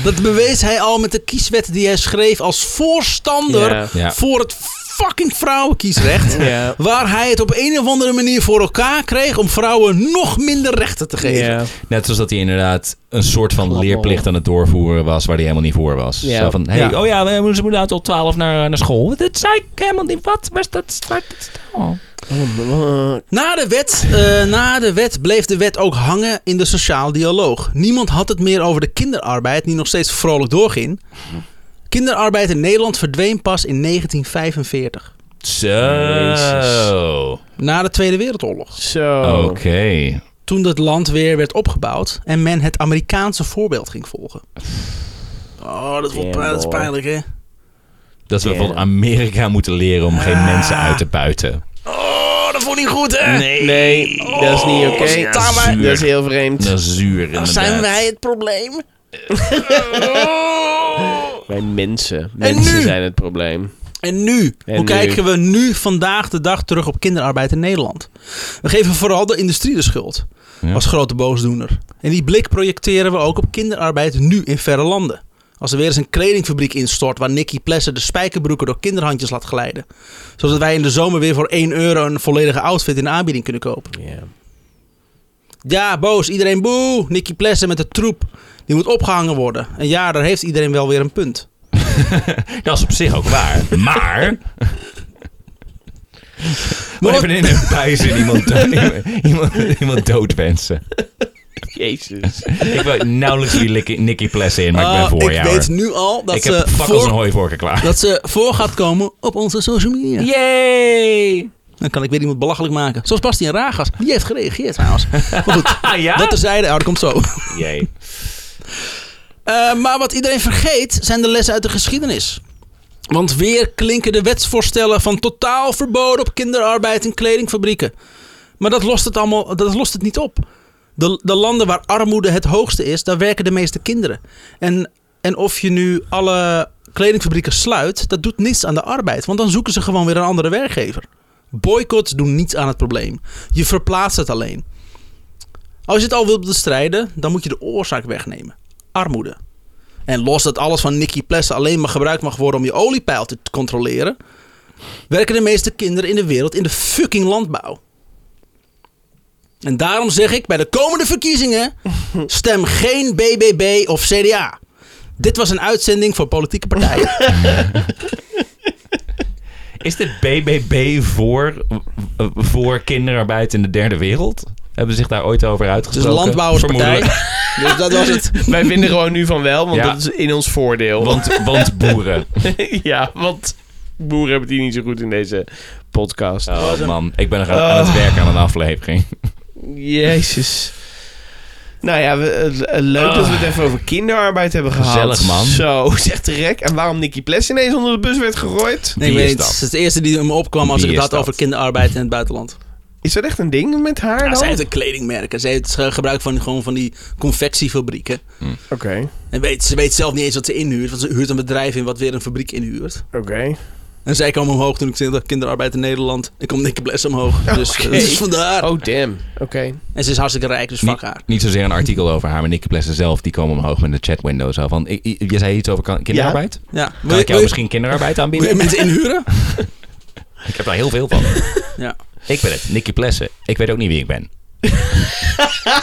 dat bewees hij al met de kieswet die hij schreef als voorstander Ja. Ja. voor het fucking vrouwenkiesrecht. Ja. Waar hij het op een of andere manier voor elkaar kreeg om vrouwen nog minder rechten te geven. Ja. Net zoals dat hij inderdaad een soort van Klappel. leerplicht aan het doorvoeren was waar hij helemaal niet voor was. Ja. Zo van, hey, Ja. oh ja, we moeten moeten tot 12 naar, naar school. Dat zei ik helemaal niet. Wat? Waar is dat? Waar is dat? Oh. Na de, wet, eh, na de wet bleef de wet ook hangen in de sociaal dialoog. Niemand had het meer over de kinderarbeid, die nog steeds vrolijk doorging. Kinderarbeid in Nederland verdween pas in 1945, Zo. na de Tweede Wereldoorlog. Zo. Oké. Toen het land weer werd opgebouwd en men het Amerikaanse voorbeeld ging volgen. Oh, dat, wordt, Damn, dat is hoor. pijnlijk, hè? Dat we Ja. van Amerika moeten leren om Ah. geen mensen uit te buiten. Oh, dat wordt niet goed, hè? Nee, dat is niet oké. Oh, daar maar- dat is heel vreemd. Dat is zuur Dan inderdaad. zijn wij het probleem? Wij mensen. Mensen nu? zijn het probleem. En nu? En Hoe nu? kijken we nu vandaag de dag terug op kinderarbeid in Nederland? We geven vooral de industrie de schuld Ja. als grote boosdoener. En die blik projecteren we ook op kinderarbeid nu in verre landen. Als er weer eens een kledingfabriek instort waar Nicky Plessen de spijkerbroeken door kinderhandjes laat glijden. Zodat wij in de zomer weer voor 1 euro een volledige outfit in de aanbieding kunnen kopen. Ja. Ja, boos, iedereen boe. Nicky Plessen met de troep. Die moet opgehangen worden. En ja, daar heeft iedereen wel weer een punt. Dat is op zich ook waar. Maar Maar. Moet wat- even in een puizen iemand, dood- iemand, iemand doodwensen. Jezus. Ik weet nauwelijks wie Licky- Nicky Plessen in, maar Oh, ik Ah, ben voor jou. weet hoor. nu al dat Ik ze heb fuck als voor een hooivorken klaar. dat ze voor gaat komen op onze social media. Yay! Dan kan ik weer iemand belachelijk maken. Zoals Bastiaan Ragas. Die heeft gereageerd trouwens. Maar goed, Ah ja? dat terzijde. Oh, dat komt zo. Jee. Eh, maar wat iedereen vergeet zijn de lessen uit de geschiedenis. Want weer klinken de wetsvoorstellen van totaal verboden op kinderarbeid in kledingfabrieken. Maar dat lost het, allemaal, dat lost het niet op. De, de landen waar armoede het hoogste is, daar werken de meeste kinderen. En, en of je nu alle kledingfabrieken sluit, dat doet niets aan de arbeid. Want dan zoeken ze gewoon weer een andere werkgever. Boycotts doen niets aan het probleem. Je verplaatst het alleen. Als je het al wilt bestrijden, dan moet je de oorzaak wegnemen. Armoede. En los dat alles van Nicky Plessen alleen maar gebruikt mag worden om je oliepeil te controleren, werken de meeste kinderen in de wereld in de fucking landbouw. En daarom zeg ik bij de komende verkiezingen: stem geen BBB of CDA. Dit was een uitzending voor politieke partijen. Is dit BBB voor, voor kinderarbeid in de derde wereld? Hebben ze zich daar ooit over Dus uitgesproken? landbouwerspartij. Vermoedelijk. Dus dat was het. Wij vinden gewoon nu van wel, want Ja. dat is in ons voordeel. Want, want boeren. ja, want boeren hebben het hier niet zo goed in deze podcast. Oh man, ik ben nog aan, aan het werk aan een aflevering. Jezus. Nou ja, we- eh, eh, leuk dat we het even over kinderarbeid hebben gehad. Gezellig, man. Zo, zegt de rek. En waarom Nicky Ples ineens onder de bus werd gegooid? Nee, Wie ik weet is niet. dat? Het is de eerste die me opkwam als Wie ik het is had dat? over kinderarbeid in het buitenland. Is dat echt een ding met haar Ja, dan? zij heeft een kledingmerk en zij heeft eh, gebruik van, gewoon van die confectiefabrieken. Oké, En weet, ze weet zelf niet eens wat ze inhuurt, want ze huurt een bedrijf in wat weer een fabriek inhuurt. oké. En zij kwam omhoog toen ik zei kinderarbeid in Nederland. Ik kom dikke bles omhoog. Dus eh, dat is vandaar. Oh, damn. Oké. En ze is hartstikke rijk, dus fuck haar. Niet, niet zozeer een artikel over haar, maar Nicky Plessen zelf, die komen omhoog met de chatwindow. Zo van, ik- ik- je zei iets over kan- kinderarbeid? Ja. Kan ik jou wil, misschien wil kinderarbeid je aanbieden? mensen inhuren? Ik heb daar heel veel van. Ja. Ik ben het, Nicky Plessen. Ik weet ook niet wie ik ben.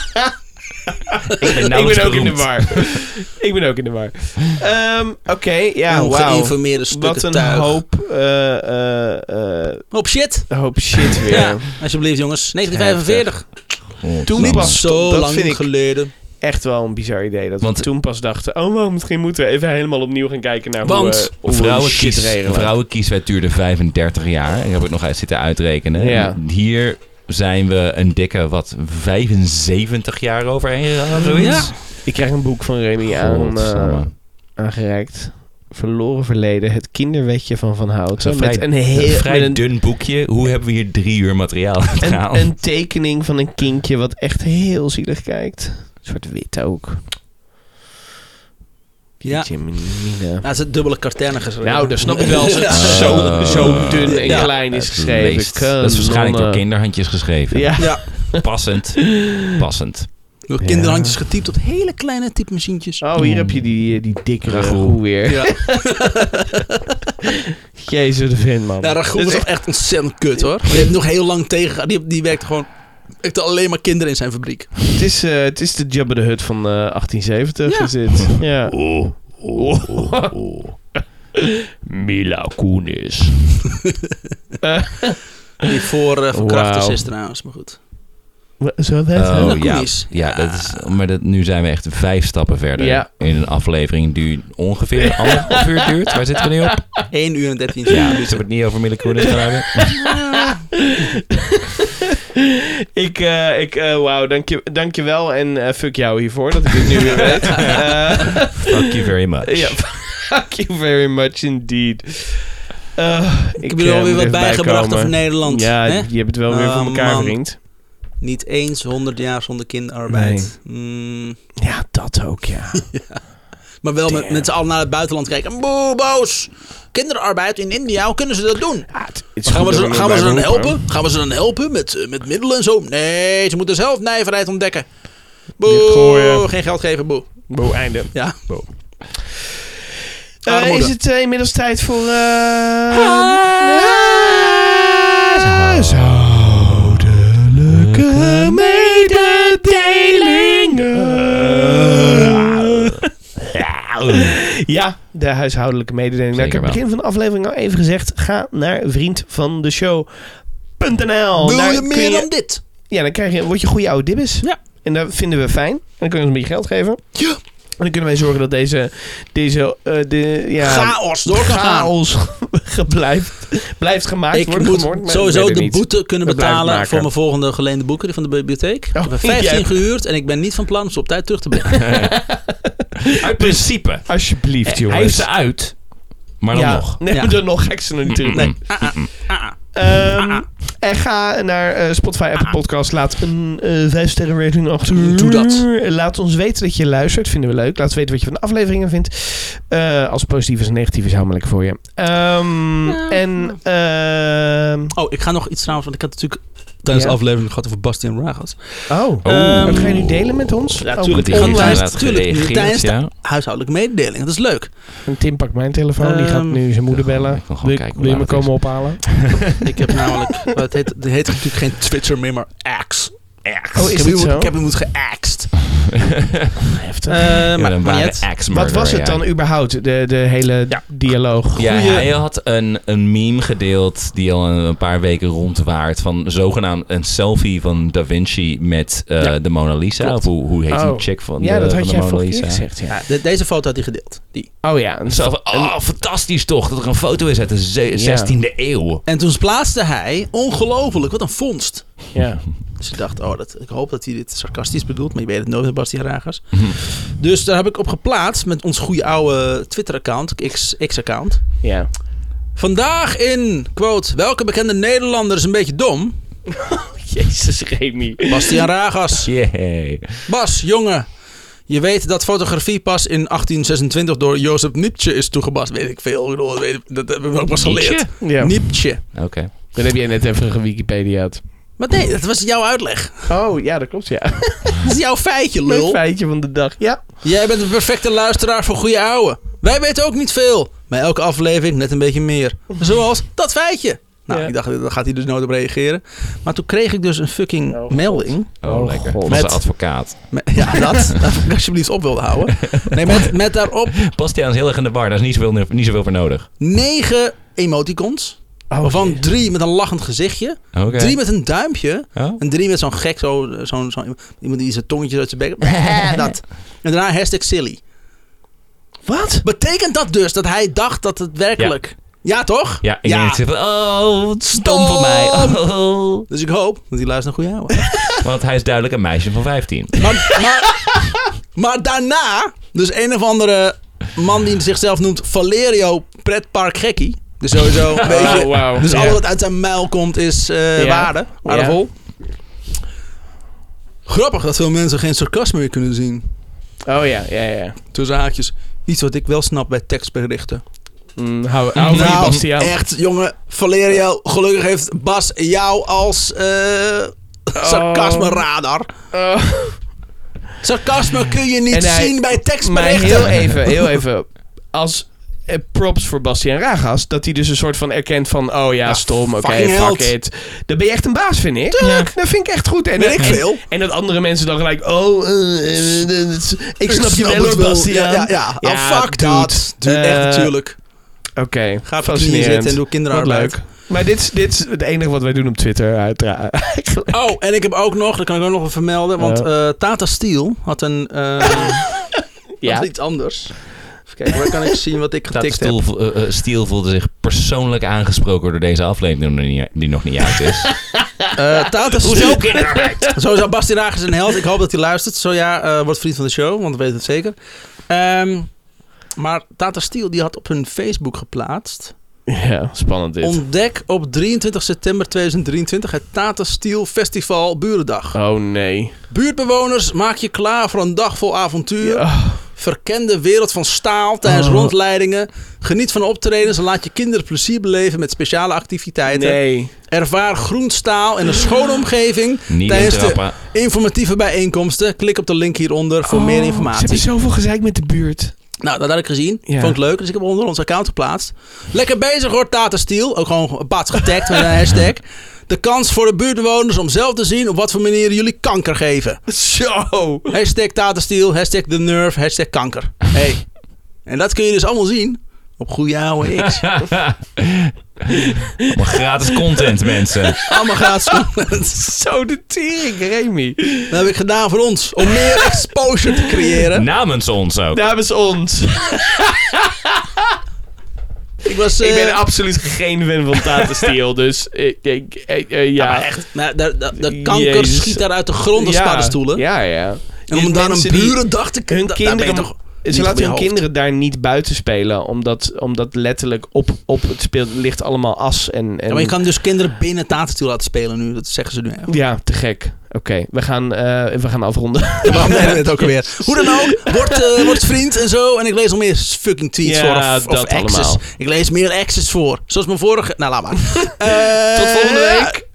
ik ben, ik nauwelijks ben ook in de beroemd. war. ik ben ook in de war. Ehm, Oké, ja, wauw. Ongeïnformeerde stukken Wat een tuig. hoop, eh, eh, eh, Op shit. hoop shit weer. Ja. Alsjeblieft jongens. 1945. Oh, Toen man. Niet pas- zo dat lang vind ik- geleden. Echt wel een bizar idee. Dat Want- we toen pas dachten, oh, wow, misschien moeten we even helemaal opnieuw gaan kijken naar hoe, Want- we- hoe we shit Vrouwenkies, regelen. vrouwenkieswet duurde 35 jaar. Ik heb het nog eens zitten uitrekenen. Ja. Hier zijn we een dikke, wat, 75 jaar overheen gegaan of zoiets? Ja. Ik krijg een boek van Remy aan, Godsamme. eh, aangereikt. Verloren verleden, het kinderwetje van Van Houten. Een met vrij- een heel een vrij met een, dun boekje. Hoe hebben we hier drie uur materiaal aan een, gehaald? een tekening van een kindje wat echt heel zielig kijkt. Zwart-wit ook. Ja. Jeetje, mina. Ja, het is het dubbele katernen geschreven. Nou, dat snap ik wel. Als het Ja. zo, zo dun en Ja. klein is Ah. Het geschreven. meest- dat is waarschijnlijk door Kanonnen. kinderhandjes geschreven. Ja. Ja. Passend. Passend. Door kinderhandjes getypt op hele kleine typemachientjes. Oh, hier heb je die, eh, die dikkere Ragout. ragout weer. Ja. Jezus, de vent, man. Ja, Ragout Dit was is echt... Dus echt ontzettend kut hoor. Die heeft nog heel lang tegen. Die, die werkte gewoon. werkte alleen maar kinderen in zijn fabriek. Het is, eh, het is de Jabba de Hut van eh, 1870 Ja. is dit. Ja. Oh, Mila Kunis. Die voor eh, verkrachters Wauw. is trouwens, maar goed. Zo dat? Oh Mila ja, Kunis. ja Ja. dat is, maar dat, nu zijn we echt vijf stappen verder Ja. in een aflevering die ongeveer anderhalf uur duurt. Waar zitten we nu op? 1 uur en 13 Ja, dus minuten. we het niet over Mila Kunis gaan hebben. Ah. Ik, eh, ik eh, wauw, dank je, dank je wel en eh, fuck jou hiervoor dat ik dit nu weer weet. Eh, Fuck you very much. Ja, fuck you very much indeed. Eh, Ik heb jullie eh, alweer moet wat even bijgebracht bijkomen. over Nederland. Ja, hè? je hebt het wel weer Ah, voor elkaar, man. vriend. Niet eens 100 jaar zonder kinderarbeid. Mm, Ja, dat ook, ja. maar wel met, Damn. met z'n allen naar het buitenland kijken. Boe, boos! Kinderarbeid in India, hoe kunnen ze dat doen? Ah, het is Maar gaan we, goed ze, dat gaan we ze dan erbij beroepen. helpen? Gaan we ze dan helpen met, eh, met middelen en zo? Nee, ze moeten zelf nijverheid ontdekken. Dit Boe, gooien. geen geld geven, boe. Boe, einde. Ja. Eh, Armoede. is het eh, inmiddels tijd voor... eh, Huishoudelijke mededelingen. Ja, de huishoudelijke mededeling. Nou, ik heb Zeker het begin van de aflevering al even gezegd. Ga naar vriendvandeshow.nl. Wil je Daar Nou, kun meer je- dan dit? Ja, dan krijg je, word je goede oude dibbes. Ja. En dat vinden we fijn. En dan kun je ons een beetje geld geven. Ja. En dan kunnen wij zorgen dat deze, deze eh, de, ja, Chaos door kan gaan. chaos ge- blijft, blijft gemaakt Ik worden. moet gemaakt, maar ik sowieso weet het de niet. boete kunnen We blijven betalen het maken. Oh, voor mijn volgende geleende boeken die van de bibliotheek. ik heb er jij 15 hebt- gehuurd en ik ben niet van plan om ze op tijd terug te brengen. Uit principe. Alsjeblieft, jongens. Hij heeft ze uit, maar dan Ja. nog. Nee, Ja. dan nog ga ik ze nog niet terug. Nee. Ah, ah, ah, ah. Ehm, En ga naar eh, Spotify, Apple Ah. Podcast. Laat een eh 5-sterren rating achter. Doe dat. Laat ons weten dat je luistert. Vinden we leuk. Laat weten wat je van de afleveringen vindt. Eh, als het positief is en negatief is, hou ik voor je. Ehm, En ehm, Oh, ik ga nog iets trouwens, want ik had natuurlijk tijdens Ja. de aflevering gehad over Bastian Ragas. oh, Ehm, dat ga je nu delen met ons? Oh, Ja, Ook tuurlijk. Die online. heeft Online inderdaad natuurlijk, gereageerd, tijdens de- ja. Huishoudelijke mededeling, dat is leuk. En Tim pakt mijn telefoon. Die gaat Ehm, nu zijn moeder bellen. Ik wil gewoon Wil, kijken hoe wil je me laat het komen ophalen? Ik heb namelijk, maar het heet, het heet natuurlijk geen Twitter meer, maar Axe. Oh, is ik, heb dit iemand, zo? ik heb iemand geaxed. Heftig. Eh, Ja, maar maar een ware niet uit. axe Wat murderer, was ja. het dan überhaupt? De, de hele dialoog. Ja, Goeie- hij had een, een meme gedeeld die al een, een paar weken rondwaart. Van zogenaamd een selfie van Da Vinci met eh, Ja, de Mona Lisa. klopt. Of hoe, hoe heet Oh. die chick van Ja, de, dat van had de jij Mona vorige keer Lisa? gezegd. Ja. Ja, de- deze foto had hij gedeeld. Die. Oh ja, een Zo van, oh, fantastisch toch, dat er een foto is uit de ze- Ja. 16e eeuw. En toen plaatste hij, ongelooflijk, wat een vondst. Ja. Dus ik dacht, oh, dat, ik hoop dat hij dit sarcastisch bedoelt, maar je weet het nooit, Bastiaan Ragers. Dus daar heb ik op geplaatst met ons goede oude Twitter-account, X- X-account. ja. Vandaag in, quote, welke bekende Nederlander is een beetje dom? Oh, Jezus, Remy. Bastiaan Ragas. Yeah. Bas, jongen. Je weet dat fotografie pas in 1826 door Jozef Nietzsche is toegepast. Weet ik veel. Ik bedoel, dat, weet- dat hebben we ook pas geleerd. Ja. Nietzsche. Oké. Dan heb jij net even gewikipediaat. Maar nee, dat was jouw uitleg. Oh, ja, dat klopt, ja. Dat is jouw feitje, Leuk lul. feitje van de dag. Ja. Jij bent een perfecte luisteraar voor goede ouwe. Wij weten ook niet veel. Maar elke aflevering net een beetje meer. Zoals dat feitje. Nou, Ja. ik dacht, daar gaat hij dus nooit op reageren. Maar toen kreeg ik dus een fucking Oh, God. melding. Oh, Oh, lekker. God. Van Met- zijn advocaat. Met- ja, dat. dat ik alsjeblieft op wilde houden. Nee, met, met daarop Bastiaan is heel erg in de war, daar is niet zoveel, niet zoveel voor nodig. negen emoticons. Oh, waarvan drie met een lachend gezichtje. Oké. Drie met een duimpje. Oh. En drie met zo'n gek, zo, zo, zo, iemand die zijn tongetje uit zijn bek... Eh, dat. En daarna hashtag silly. Wat? Betekent dat dus dat hij dacht dat het werkelijk... Ja, toch? Ja, ik denk dat ze van, oh, wat stom van Stom! mij. Oh. Dus ik hoop dat hij luistert naar goede ouwe. Want hij is duidelijk een meisje van 15. maar, maar, maar daarna, dus een of andere man die zichzelf noemt Valerio Pretpark Gekkie. Dus sowieso Oh, een beetje... wauw. Dus Oh, Ja. alles wat uit zijn muil komt is eh Ja. waarde, waardevol. Grappig dat veel mensen geen sarcasme meer kunnen zien. Oh ja, ja, ja. Tussen haakjes. Iets wat ik wel snap bij tekstberichten. Nou, Mm, hou hou van je, Bastiaan. echt, jongen. Valerio, gelukkig heeft Bas jou als eh sarcasme-radar. Oh. Sarcasme kun je niet En hij- zien bij Maar tekstberichten. heel even, heel even. Als eh, props voor Bastiaan Ragas. Dat hij dus een soort van erkent van... Oh ja, Ja, stom, oké, fucking fuck held. it. Dan ben je echt een baas, vind ik. Tuurlijk. Dat vind ik echt goed. En, Weet ik en- veel. En dat andere mensen dan gelijk... Oh, eh, eh, eh, ik snap je wel, het hoor, Bastiaan. Ja, ja, ja. Ja, oh, fuck dude. dat. Dude, echt Eh, natuurlijk. Oké, Ga op je knieën fascinerend. zitten en doe Wat kinderarbeid. leuk. Maar dit, is- dit is het enige wat wij doen op Twitter, uiteraard. Eigenlijk. Oh, en ik heb ook nog, dat kan ik ook nog even vermelden, want eh, Tata Steel had een. eh had iets anders. Even kijken, waar kan ik zien wat ik Dat getikt heb? Stiel, eh, eh, Stiel voelde zich persoonlijk aangesproken door deze aflevering die nog niet- die nog niet uit is. Eh, Tata Steel. Sowieso, Basti Raag is een held. Ik hoop dat hij luistert. Zo ja, eh wordt vriend van de show, want we weten het zeker. Ehm, maar Tata Steel die had op hun Facebook geplaatst. Ja, spannend dit. Ontdek op 23 september 2023 het Tata Steel Festival Burendag. oh nee. Buurtbewoners, maak je klaar voor een dag vol avontuur. Ja. Verkende wereld van staal tijdens Oh. rondleidingen. Geniet van optredens en laat je kinderen plezier beleven met speciale activiteiten. Nee. Ervaar groen staal en een schone omgeving Niet tijdens de trappen. informatieve bijeenkomsten. Klik op de link hieronder Oh, voor meer informatie. Ze hebben zoveel gezeik met de buurt. Nou, dat had ik gezien. Ja. Vond ik leuk. Dus ik heb onder ons account geplaatst. Lekker bezig hoor, Tata Steel. Ook gewoon baats getagd met een hashtag. De kans voor de buurtbewoners om zelf te zien op wat voor manieren jullie kanker geven. Zo. Hashtag Tata Steel, hashtag The Nerve, hashtag kanker. Hey. En dat kun je dus allemaal zien Op goede oude X. Maar gratis content, mensen. Allemaal gratis content. Zo de tering, Remy. Dat heb ik gedaan voor ons. Om meer exposure te creëren. Namens ons ook. Namens ons. Ik was... Ik eh, ben absoluut geen fan van Tata Steel, dus ik, ik, ik- eh, ja. nou, daar- daar- dat kanker Jezus. schiet daar uit de grond als Ja, paddenstoelen. Ja, ja. En om dan een Mensen die- burendag te hun da- daar ben je kinderen, toch niet ze op je laten hun hoofd. kinderen daar niet buiten spelen, omdat, omdat letterlijk op, op het speelt ligt allemaal as en... en Ja, maar je kan dus kinderen binnen Tatenstuur laten spelen nu. Dat zeggen ze nu echt. Ja, te gek. Oké, we, gaan, eh we gaan afronden. Waarom deden we het ook weer? Hoe dan ook, word, eh, word vriend en zo. En ik lees al meer fucking tweets Ja, voor. Of, of dat access. allemaal. Ik lees meer access voor. Zoals mijn vorige... Nou, laat maar. Eh, Tot volgende week.